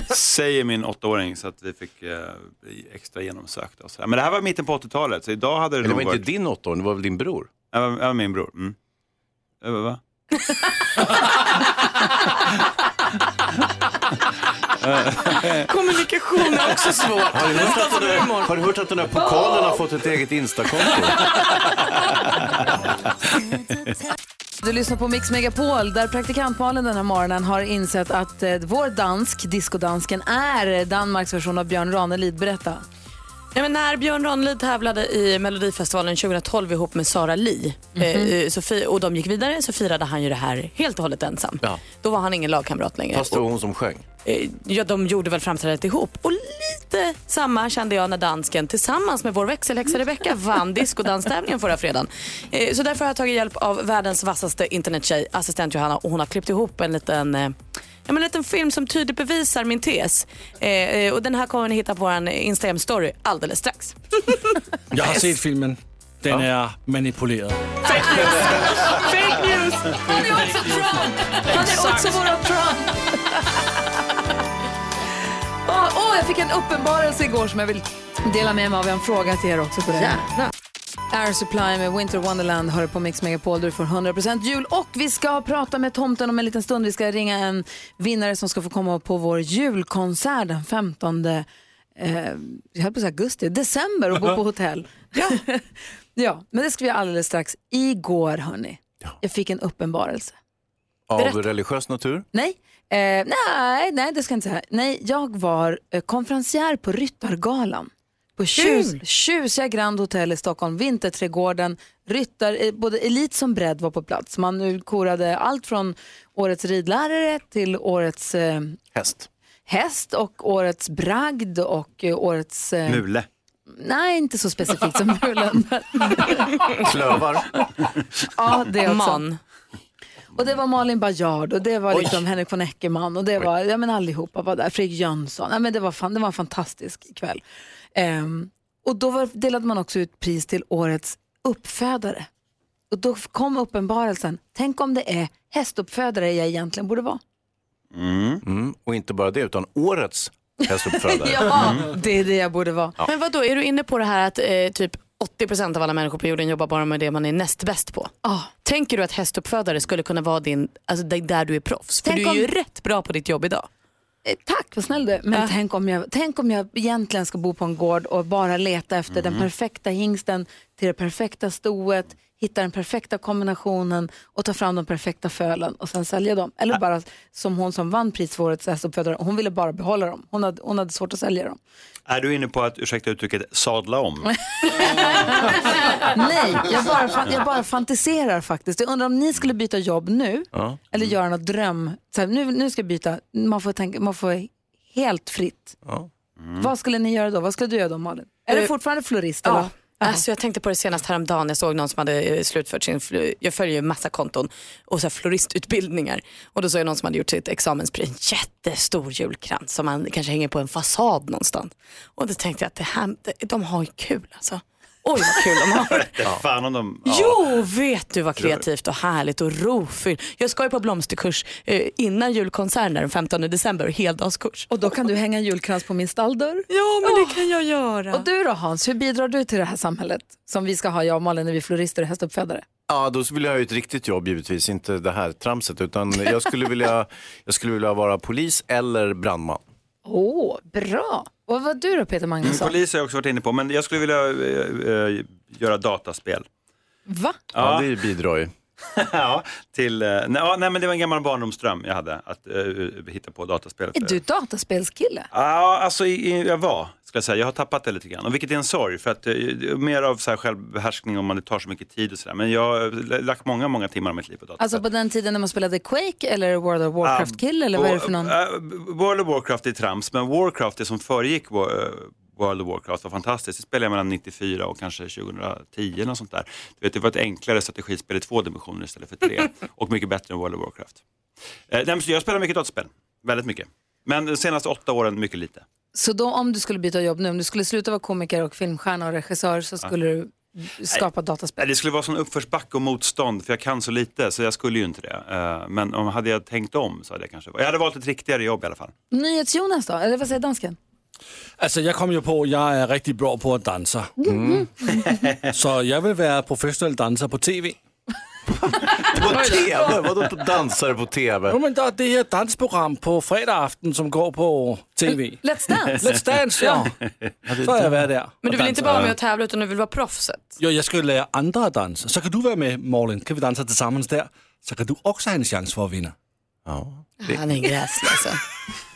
S19: säger min åttaåring så att vi fick eh, bli extra genomsökta. Och så här. Men det här var mitten på 80-talet, så idag hade det
S3: Eller
S19: nog
S3: var inte
S19: varit...
S3: din åttaåring, det var väl din bror?
S19: Ja, det var- det var min bror. Mm. Det var- va?
S5: Kommunikation är också svårt.
S3: Har du hört att den här, har du hört att den här pokalen har fått ett eget Instakonto?
S1: Du lyssnar på Mix Megapol där praktikant Malin den här morgonen har insett att eh, vår dansk, discodansken, är Danmarks version av Björn Ranelid. Berätta.
S5: Ja, men när Björn Ranelid tävlade i Melodifestivalen 2012 ihop med Sara Li eh, eh, så fi- och de gick vidare så firade han ju det här helt och hållet ensam. Då var han ingen lagkamrat längre.
S3: Fast det var hon som sjöng.
S5: Eh, Ja, de gjorde väl framträdandet ihop. Och lite samma kände jag när dansken tillsammans med vår växelhäxa Rebecca vann discodanstävlingen förra fredagen. Eh, Så därför har jag tagit hjälp av världens vassaste internettjej, assistent Johanna, och hon har klippt ihop en liten eh, Ja, men en liten film som tydligt bevisar min tes. Eh, eh, och den här kommer ni hitta på vår Instagram-story alldeles strax.
S4: Jeg har set filmen. Den er manipuleret.
S5: Fake news! Han är också Trump! Han
S1: är också våran Trump! Åh, Ah, åh, jag fick en uppenbarelse igår som jag vill dela med mig av. Jag har en fråga till er också. På det. här. Air Supply med Winter Wonderland hör på Mix Megapol där du får 100% jul. Och vi ska prata med tomten om en liten stund. Vi ska ringa en vinnare som ska få komma på vår julkonsert den 15 eh, jag höll på att säga augusti, december och bo på hotell. ja. ja, men det ska vi göra alldeles strax. Igår, hörni, jag fick en uppenbarelse.
S3: Av
S1: Berätta.
S3: religiös natur.
S1: Nej, eh, nej, nej, det ska jag inte säga. Nej, jag var eh, konferencier på Ryttargalan. På tjus, tjusiga Grand Hotel i Stockholm, Vinterträdgården. Ryttar, eh, både elit som bredd var på plats. Man nu korade allt från årets ridlärare till årets eh,
S3: häst.
S1: häst och årets bragd och eh, årets... eh,
S19: Mule.
S1: Nej, inte så specifikt som mulen.
S3: Klövar.
S1: Ja, det också.
S5: Man.
S1: Och det var Malin Bajard och det var liksom Henrik von Eckermann och det var, ja men allihopa var där, Fredrik Jönsson. Ja, men det, var fan, det var en fantastisk kväll. Ehm, och då var, delade man också ut pris till årets uppfödare. Och då kom uppenbarelsen, tänk om det är hästuppfödare jag egentligen borde vara.
S3: Mm. Och inte bara det, utan årets hästuppfödare.
S1: ja,
S3: Mm.
S1: det är det jag borde vara.
S5: Men vad då är du inne på det här att eh, typ 80% av alla människor på jorden jobbar bara med det man är näst bäst på? Tänker du att hästuppfödare skulle kunna vara din, alltså det- där du är proffs? För
S1: Tänk
S5: du är ju
S1: om-
S5: rätt bra på ditt jobb idag.
S1: Eh, Tack, vad snäll du är. Men tänk, om jag, tänk om jag egentligen ska bo på en gård och bara leta efter den perfekta hingsten till det perfekta stoet, hitta den perfekta kombinationen och ta fram de perfekta fölen och sen sälja dem. Eller bara som hon som vann pris för årets hästuppfödare, hon ville bara behålla dem. Hon hade, hon hade svårt att sälja dem.
S19: Är du inne på att, ursäkta uttrycket, sadla om?
S6: Ah.
S1: Nej, jag bara, fan, jag bara fantiserar faktiskt. Jag undrar om ni skulle byta jobb nu
S19: Ja.
S1: eller göra något dröm. Så här, nu, nu ska jag byta, man får, tänka, man får helt fritt.
S3: Ja.
S5: Mm.
S1: Vad skulle ni göra då? Vad skulle du göra då Malin? Är det fortfarande florist? Eller?
S5: Alltså jag tänkte på det senast häromdagen, jag såg någon som hade eh, slutfört sin, fl- jag följer ju massa konton och så här floristutbildningar och då såg jag någon som hade gjort sitt examenspris, en jättestor julkrans som man kanske hänger på en fasad någonstans. Och då tänkte jag att det här, det- de har ju kul alltså. Oj vad kul de har.
S23: Fan om de...
S5: Jo, vet du vad kreativt och härligt och rofyllt. Jag ska ju på blomsterkurs eh, innan julkonserten där den 15 december, heldagskurs.
S1: Och då kan du hänga en julkrans på min stalldörr.
S5: Ja, men det kan jag göra.
S1: Och du då Hans, hur bidrar du till det här samhället som vi ska ha, jag och Malin, när vi är florister och hästuppfödare?
S3: Ja, då vill jag ha ett riktigt jobb givetvis, inte det här tramset. Utan jag skulle vilja, jag skulle vilja vara polis eller brandman.
S1: Åh, bra. Och vad du då Peter Magnusson?
S19: Polis har jag också varit inne på, men jag skulle vilja eh, eh, göra dataspel.
S1: Va?
S19: Ja,
S3: det bidrar ju.
S19: ja, till, eh, nej, ja, nej, men det var en gammal barndomsdröm jag hade, att eh, hitta på dataspel.
S1: Är du dataspelskille?
S19: Ja, alltså i, i, jag var, ska jag säga. Jag har tappat det lite grann. Och vilket är en sorg, för att eh, det är mer av så här självbehärskning om man det tar så mycket tid och sådär. Men jag har eh, lagt många, många timmar av mitt liv på dataspel.
S1: Alltså på den tiden när man spelade Quake eller World of Warcraft-kille eller vad är det för någon?
S19: Eh, World of Warcraft är trams, men Warcraft, det som föregick Wa- eh, World of Warcraft var fantastiskt. Det spelade jag mellan 94 och kanske 2010 eller något sånt där. Du vet, det var ett enklare strategispel i två dimensioner istället för tre och mycket bättre än World of Warcraft. Eh, nej, men så jag spelar mycket dataspel, väldigt mycket. Men de senaste åtta åren mycket lite.
S1: Så då om du skulle byta jobb nu, om du skulle sluta vara komiker och filmstjärna och regissör så skulle du skapa dataspel?
S19: Nej, Eh, Det skulle vara sån uppförsbacke och motstånd för jag kan så lite så jag skulle ju inte det. Eh, Men om hade jag tänkt om så hade jag kanske... Jag hade valt ett riktigare jobb i alla fall.
S1: NyhetsJonas då, eller vad säger dansken?
S4: Altså, jeg kom jo på, at jeg er rigtig bra på at danse.
S1: Mm.
S4: Mm. så jeg vil være professionel danser på tv.
S3: På TV? Vadå på dansare på TV?
S4: Jo, men der er det her dansprogram på fredag aften, som går på tv.
S1: Let's
S5: Dance.
S4: Let's Dance, ja. Så har jeg været der.
S5: Men du vill
S4: og danser.
S5: inte bara vara med och tävla utan du vill vara proffset.
S4: Jo, jeg skal jo lære andre at danse. Så kan du være med, Morlin. Kan vi danse til sammen der? Så kan du også have en chance for at vinde.
S3: Ja.
S5: Han är en gräslig alltså.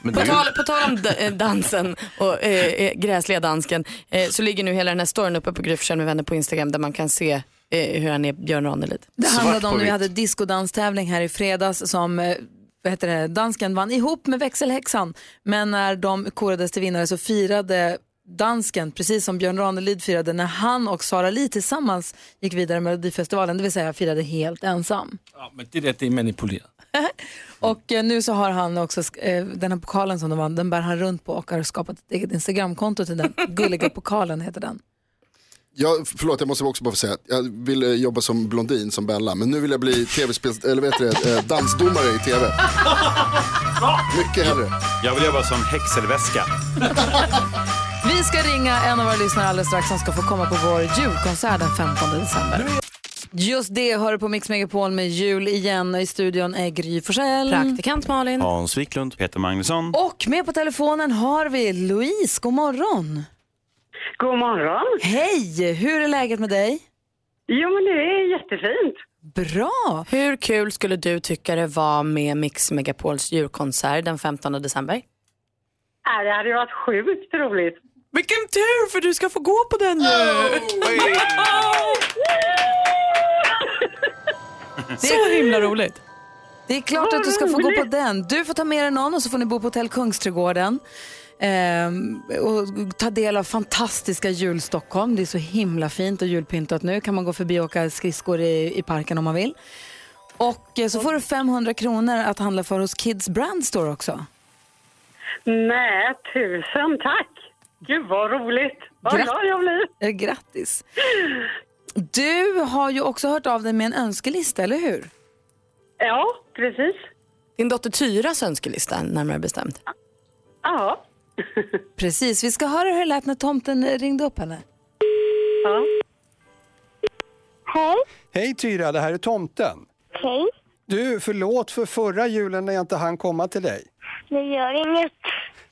S4: Men
S5: på,
S4: du-
S5: tal, på tal om d- eh, dansen och eh, eh, gräsliga dansken eh, så ligger nu hela den här storyn uppe på Gry Forssell med vänner på Instagram där man kan se eh, hur han är Björn Ranelid.
S1: Det handlade om när vi hade diskodanstävling här i fredags som eh, vad heter det, dansken vann ihop med växelhäxan. Men när de korades till vinnare så firade dansken, precis som Björn Ranelid firade när han och Sara Li tillsammans gick vidare med Melodifestivalen, det vill säga firade helt ensam.
S4: Ja, men det der, det er manipuleret.
S1: Och eh, nu så har han också, sk- eh, den här pokalen som de vann, den bär han runt på och har skapat ett eget Instagramkonto till den. Gulliga pokalen heter den.
S12: Jag, förlåt, jag måste också bara få säga att jag ville jobba som blondin, som Bella, men nu vill jag bli tv-spels... eller vet du det, eh, dansdomare i tv. Mycket hellre.
S19: Jag vill jobba som häxelväska.
S1: Vi ska ringa en av våra lyssnare alldeles strax som ska få komma på vår julkonsert den 15 december. Just det hör du på Mix Megapol med jul igen och i studion är Gry Forssell.
S5: Praktikant Malin.
S19: Hans Wiklund. Peter Magnusson.
S1: Och med på telefonen har vi Louise, god morgon.
S6: God morgon.
S1: Hej, hur är läget med dig?
S6: Jo men det är jättefint.
S1: Bra!
S5: Hur kul skulle du tycka det var med Mix Megapols julkonsert den 15 december?
S6: Äh, det hade ju varit sjukt roligt.
S5: Vilken tur för du ska få gå på den nu! Så himla roligt.
S1: Det är klart att du ska få gå på den. Du får ta med dig någon och så får ni bo på Hotell Kungsträdgården. Ehm, och ta del av fantastiska julstockholm. Det är så himla fint och julpyntat nu. Kan man gå förbi och åka skridskor i, i parken om man vill. Och eh, så får du 500 kronor att handla för hos Kids Brand Store också.
S6: Nej, tusen tack. Gud vad roligt. Vad
S1: Gratt-
S6: glad jag blir.
S1: Eh, Grattis! Du har ju också hört av dig med en önskelista, eller hur?
S6: Ja, precis.
S5: Din dotter Tyras önskelista närmare bestämt.
S6: Ja.
S1: Precis, vi ska höra hur det lät när tomten ringde upp henne.
S6: Ja.
S24: Hej. Hej Tyra, det här är tomten. Hej. Du, förlåt för förra julen när jag inte hann komma till dig. Det gör inget.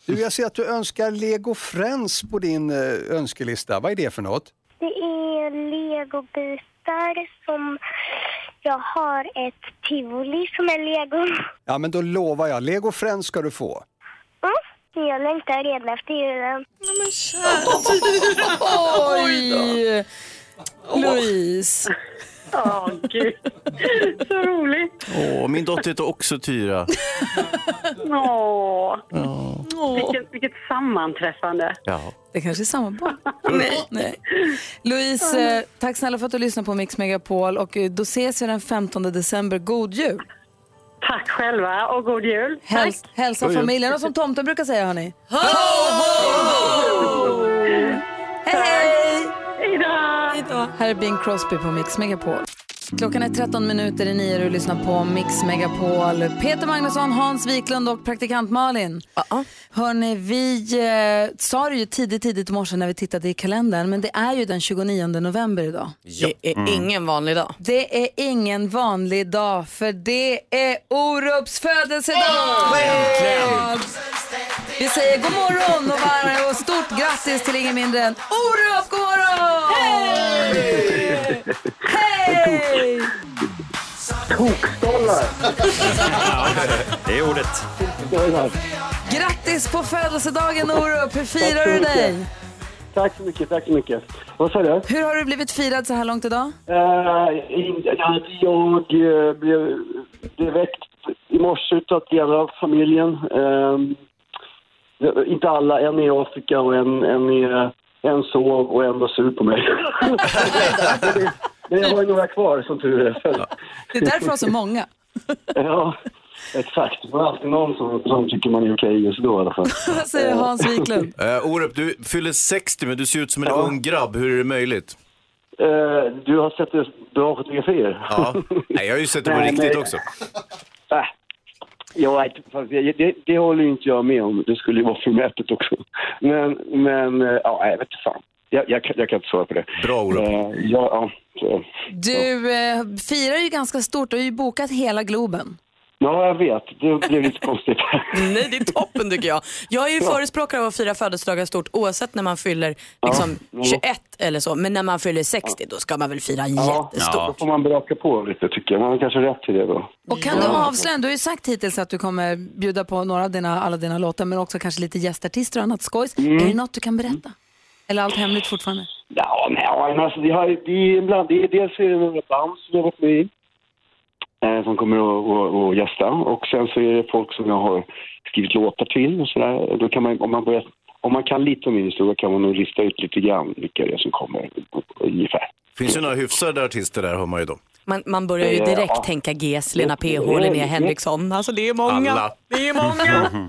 S24: Du, jag ser att du önskar Lego Friends på din eh, önskelista. Vad är det för något?
S25: Det är legobitar som... Jag har ett tivoli som är lego.
S24: Ja, men då lovar jag. Lego Friends ska du få.
S25: Mm, jag längtar redan efter julen. Men
S1: Oj! Louise.
S26: Åh, gud. Så roligt.
S3: Åh, min dotter heter också Tyra.
S26: Åh.
S3: Ja.
S26: Vilket, vilket sammanträffande.
S3: Ja.
S1: Det kanske är samma barn. Nej. Nej. Louise, eh, tack snälla för att du lyssnade på Mix Megapol och eh, då ses vi den 15 december. God jul!
S26: Tack själva och god jul.
S1: Häls Hälsa
S26: God jul.
S1: familjen och som tomten brukar säga hörni. Hej, hej! Hejdå! Här är Bing Crosby på Mix Megapol. Klockan är 13 minuter i nio och du lyssnar på Mix Megapol. Peter Magnusson, Hans Wiklund och praktikant Malin. Hörni, vi eh, sa det ju tidigt, tidigt i morse när vi tittade i kalendern, men det är ju den 29 november idag.
S5: Det är
S1: Mm.
S5: ingen vanlig dag.
S1: Det är ingen vanlig dag, för det är Orups födelsedag! Vi säger god morgon och, varm, och stort grattis till ingen mindre än Orup! God morgon! Hej! Hej!
S6: Tokstollar!
S24: Det är ordet.
S1: Grattis på födelsedagen Orup! Hur firar du dig?
S10: Tack så mycket, tack så mycket. Vad sa du?
S1: Hur har du blivit firad så här långt idag?
S10: Eh, in- ja, jag eh, blev direkt i morse utav delar av familjen. Ehm, inte alla, en är i Afrika och en, en, är, en sov och en var sur på mig. Men jag har ju några kvar som tur är.
S1: Det är därför vi har så många.
S10: ja, exakt. Det var alltid någon som, som tycker man är okej just då i alla fall.
S1: Vad säger Hans Wiklund?
S3: Eh, Orup, du fyller 60 men du ser ut som en ung grabb. Hur är det möjligt?
S10: Eh, du har sett det bra fotografier.
S3: Ja. Nej, jag har ju sett det på
S10: Nej,
S3: riktigt
S10: men-
S3: också.
S10: Ja, fast det, det, det håller ju inte jag med om. Det skulle ju vara förmätet också. Men, men eh, ja, jag vet inte fan. Jag, jag, kan- jag kan inte svara på det. Eh,
S3: Bra, Olof.
S10: ja, ja,
S1: Du eh, firar ju ganska stort, du har ju bokat hela Globen.
S10: ja, jag vet. Det blev lite konstigt.
S5: Nej, det är toppen tycker jag. Jag är ju förespråkare av att fira födelsedagar stort oavsett när man fyller liksom,
S10: jo.
S5: 21 eller så. Men när man fyller 60 då ska man väl fira
S10: Ja,
S5: jättestort.
S10: då får man braka på lite tycker jag. Man har kanske rätt till det då.
S1: Och kan du avslöja, du har ju sagt hittills att du kommer bjuda på några av dina, alla dina låtar men också kanske lite gästartister och annat skojs.
S10: Mm.
S1: Är det något du kan berätta? Eller allt hemligt fortfarande?
S10: Ja, nej, ja, men alltså, det, har, ju- det är ibland, det är, dels är det några band som jag har varit med i eh, som kommer att- att att gästa och sen så är det folk som jag har skrivit låtar till och sådär. Då kan man, om man börjar om man kan lite om min historia kan man nog lista ut lite grann vilka det är som kommer ungefär.
S3: finns ju några hyfsade artister där hör man ju då.
S5: Man, man börjar ju direkt
S10: Ja.
S5: tänka GES, Lena PH, Linnea Henriksson. Alltså det är många.
S10: Alla.
S5: Det är många.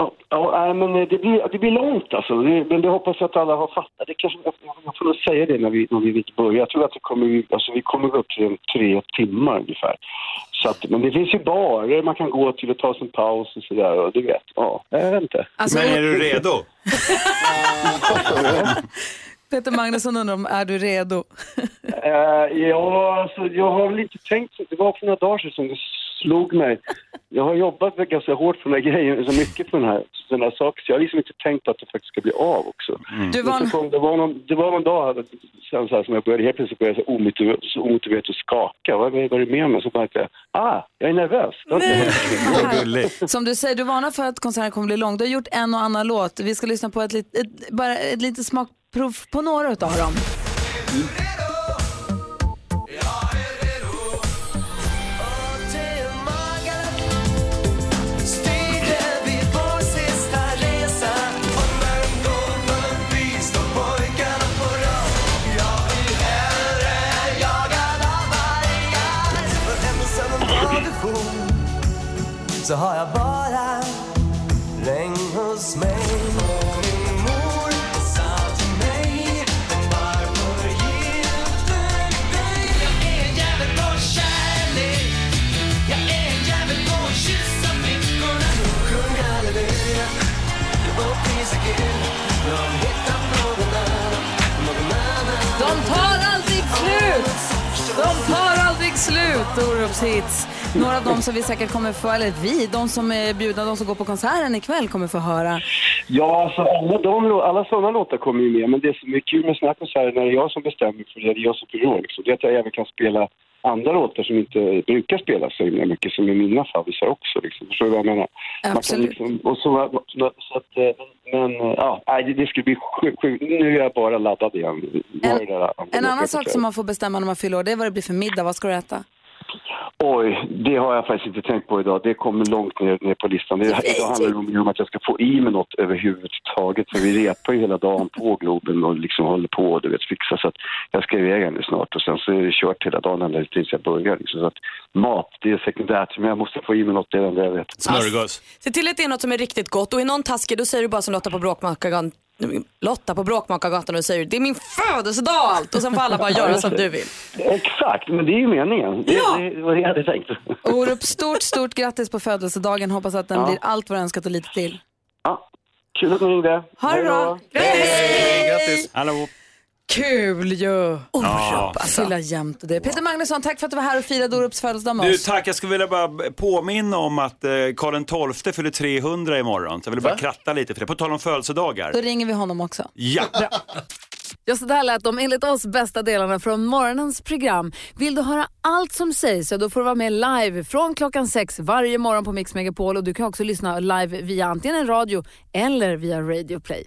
S10: Ja, ja, nej, men eh, det blir, det blir långt alltså. Det, men det hoppas jag att alla har fattat. Det kanske, jag, jag får nog säga det när vi, när vi börjar. Jag tror att det kommer, alltså, vi kommer upp till en tre timmar ungefär. Så att, men det finns ju barer man kan gå till och ta sig en paus och sådär. Och du vet, ja, jag vet inte.
S1: Alltså- Men är du
S10: redo?
S1: Peter Magnusson undrar om, är du redo?
S10: Eh, ja, alltså, jag har väl inte tänkt så. Det var för några dagar sedan som det slog mig. Jag har jobbat ganska hårt på den här grejen, så mycket på den här, den här saken, så jag har liksom inte tänkt på att det faktiskt ska bli av också.
S1: Du
S10: Men
S1: var en-
S10: så kom, det, var någon, det var någon dag här, sen så här, som jag började, helt plötsligt började jag så omotiverat, så omotiverat att skaka. Vad vad är det med mig? Så märkte jag, ah, jag är nervös. Det har inte hänt.
S1: Som du säger, du varnar för att konserten kommer bli lång. Du har gjort en och annan låt. Vi ska lyssna på ett, lit, ett, bara ett litet smakprov på några utav dem.
S7: Så har jag bara regn hos mig Och min mor sa till mig Varför gifte du dig? Jag är en jävel på kärlek Jag är en jävel på att kyssa flickorna Sjung halleluja och prisa Gud De hittar någon annan, någon annan
S1: De tar aldrig slut! De tar aldrig slut, Orups hits. Några av dem som vi säkert kommer få, eller vi, de som är bjudna, de som går på konserten ikväll kommer få höra.
S10: Ja, alltså alla, de, lå- alla sådana låtar kommer ju med. Men det som är kul med såna här konserter när det är jag som bestämmer för det, det är jag som fyller år, liksom, det är att jag även kan spela andra låtar som inte brukar spelas så himla mycket som är mina favvisar också. Liksom. Förstår du vad jag menar? Man kan
S5: Absolut.
S10: Liksom, och så, var- så, så att, eh, men eh, ja, nej, det, det skulle bli sjukt. Sjuk. Nu är jag bara laddad igen. Nu har jag det där andra
S1: En annan
S10: låtar
S1: sak
S10: på
S1: som man får bestämma när man fyller år, det är vad det blir för middag. Vad ska du äta?
S10: Oj, det har jag faktiskt inte tänkt på idag. Det kommer långt ner, ner på listan. Det, idag handlar det om- om att jag ska få i mig något överhuvudtaget. För vi repar ju hela dagen på Globen och liksom håller på och du vet, fixar. Så att jag ska iväg här nu snart och sen så är det kört hela dagen ända tills jag börjar. Liksom. Så att mat, det är sekundärt. Men jag måste få i mig något, det är det enda jag vet.
S3: Smörgås.
S5: Se till att det är något som är riktigt gott och är någon taskig då säger du bara som Lotta på Bråkmakargatan Lotta på Bråkmakargatan och säger det är min födelsedag och allt och sen får alla bara göra som du vill.
S10: Exakt, men det är ju meningen. Det,
S5: Ja!
S10: det var det jag hade tänkt.
S1: Orup, stort, stort grattis på födelsedagen. Hoppas att den
S10: Ja.
S1: blir allt vad du önskat och lite till.
S10: Kul att ni ringde.
S1: Ha det bra!
S10: Grattis!
S19: Hallå!
S1: Kul ju!
S19: Ja.
S1: Alltså. Fylla jämt och det. Peter Magnusson, tack för att du var här och firade Orups födelsedag med
S19: Du,
S1: oss.
S19: tack. Jag skulle vilja bara påminna om att eh, Karl XII fyller 300 imorgon. Så jag vill bara kratta lite för det. På tal om födelsedagar.
S1: Då ringer vi honom också.
S19: Ja.
S11: Ja, så där lät de enligt oss bästa delarna från morgonens program. Vill du höra allt som sägs så då får du vara med live från klockan sex varje morgon på Mix Megapol och du kan också lyssna live via antingen radio eller via Radio Play.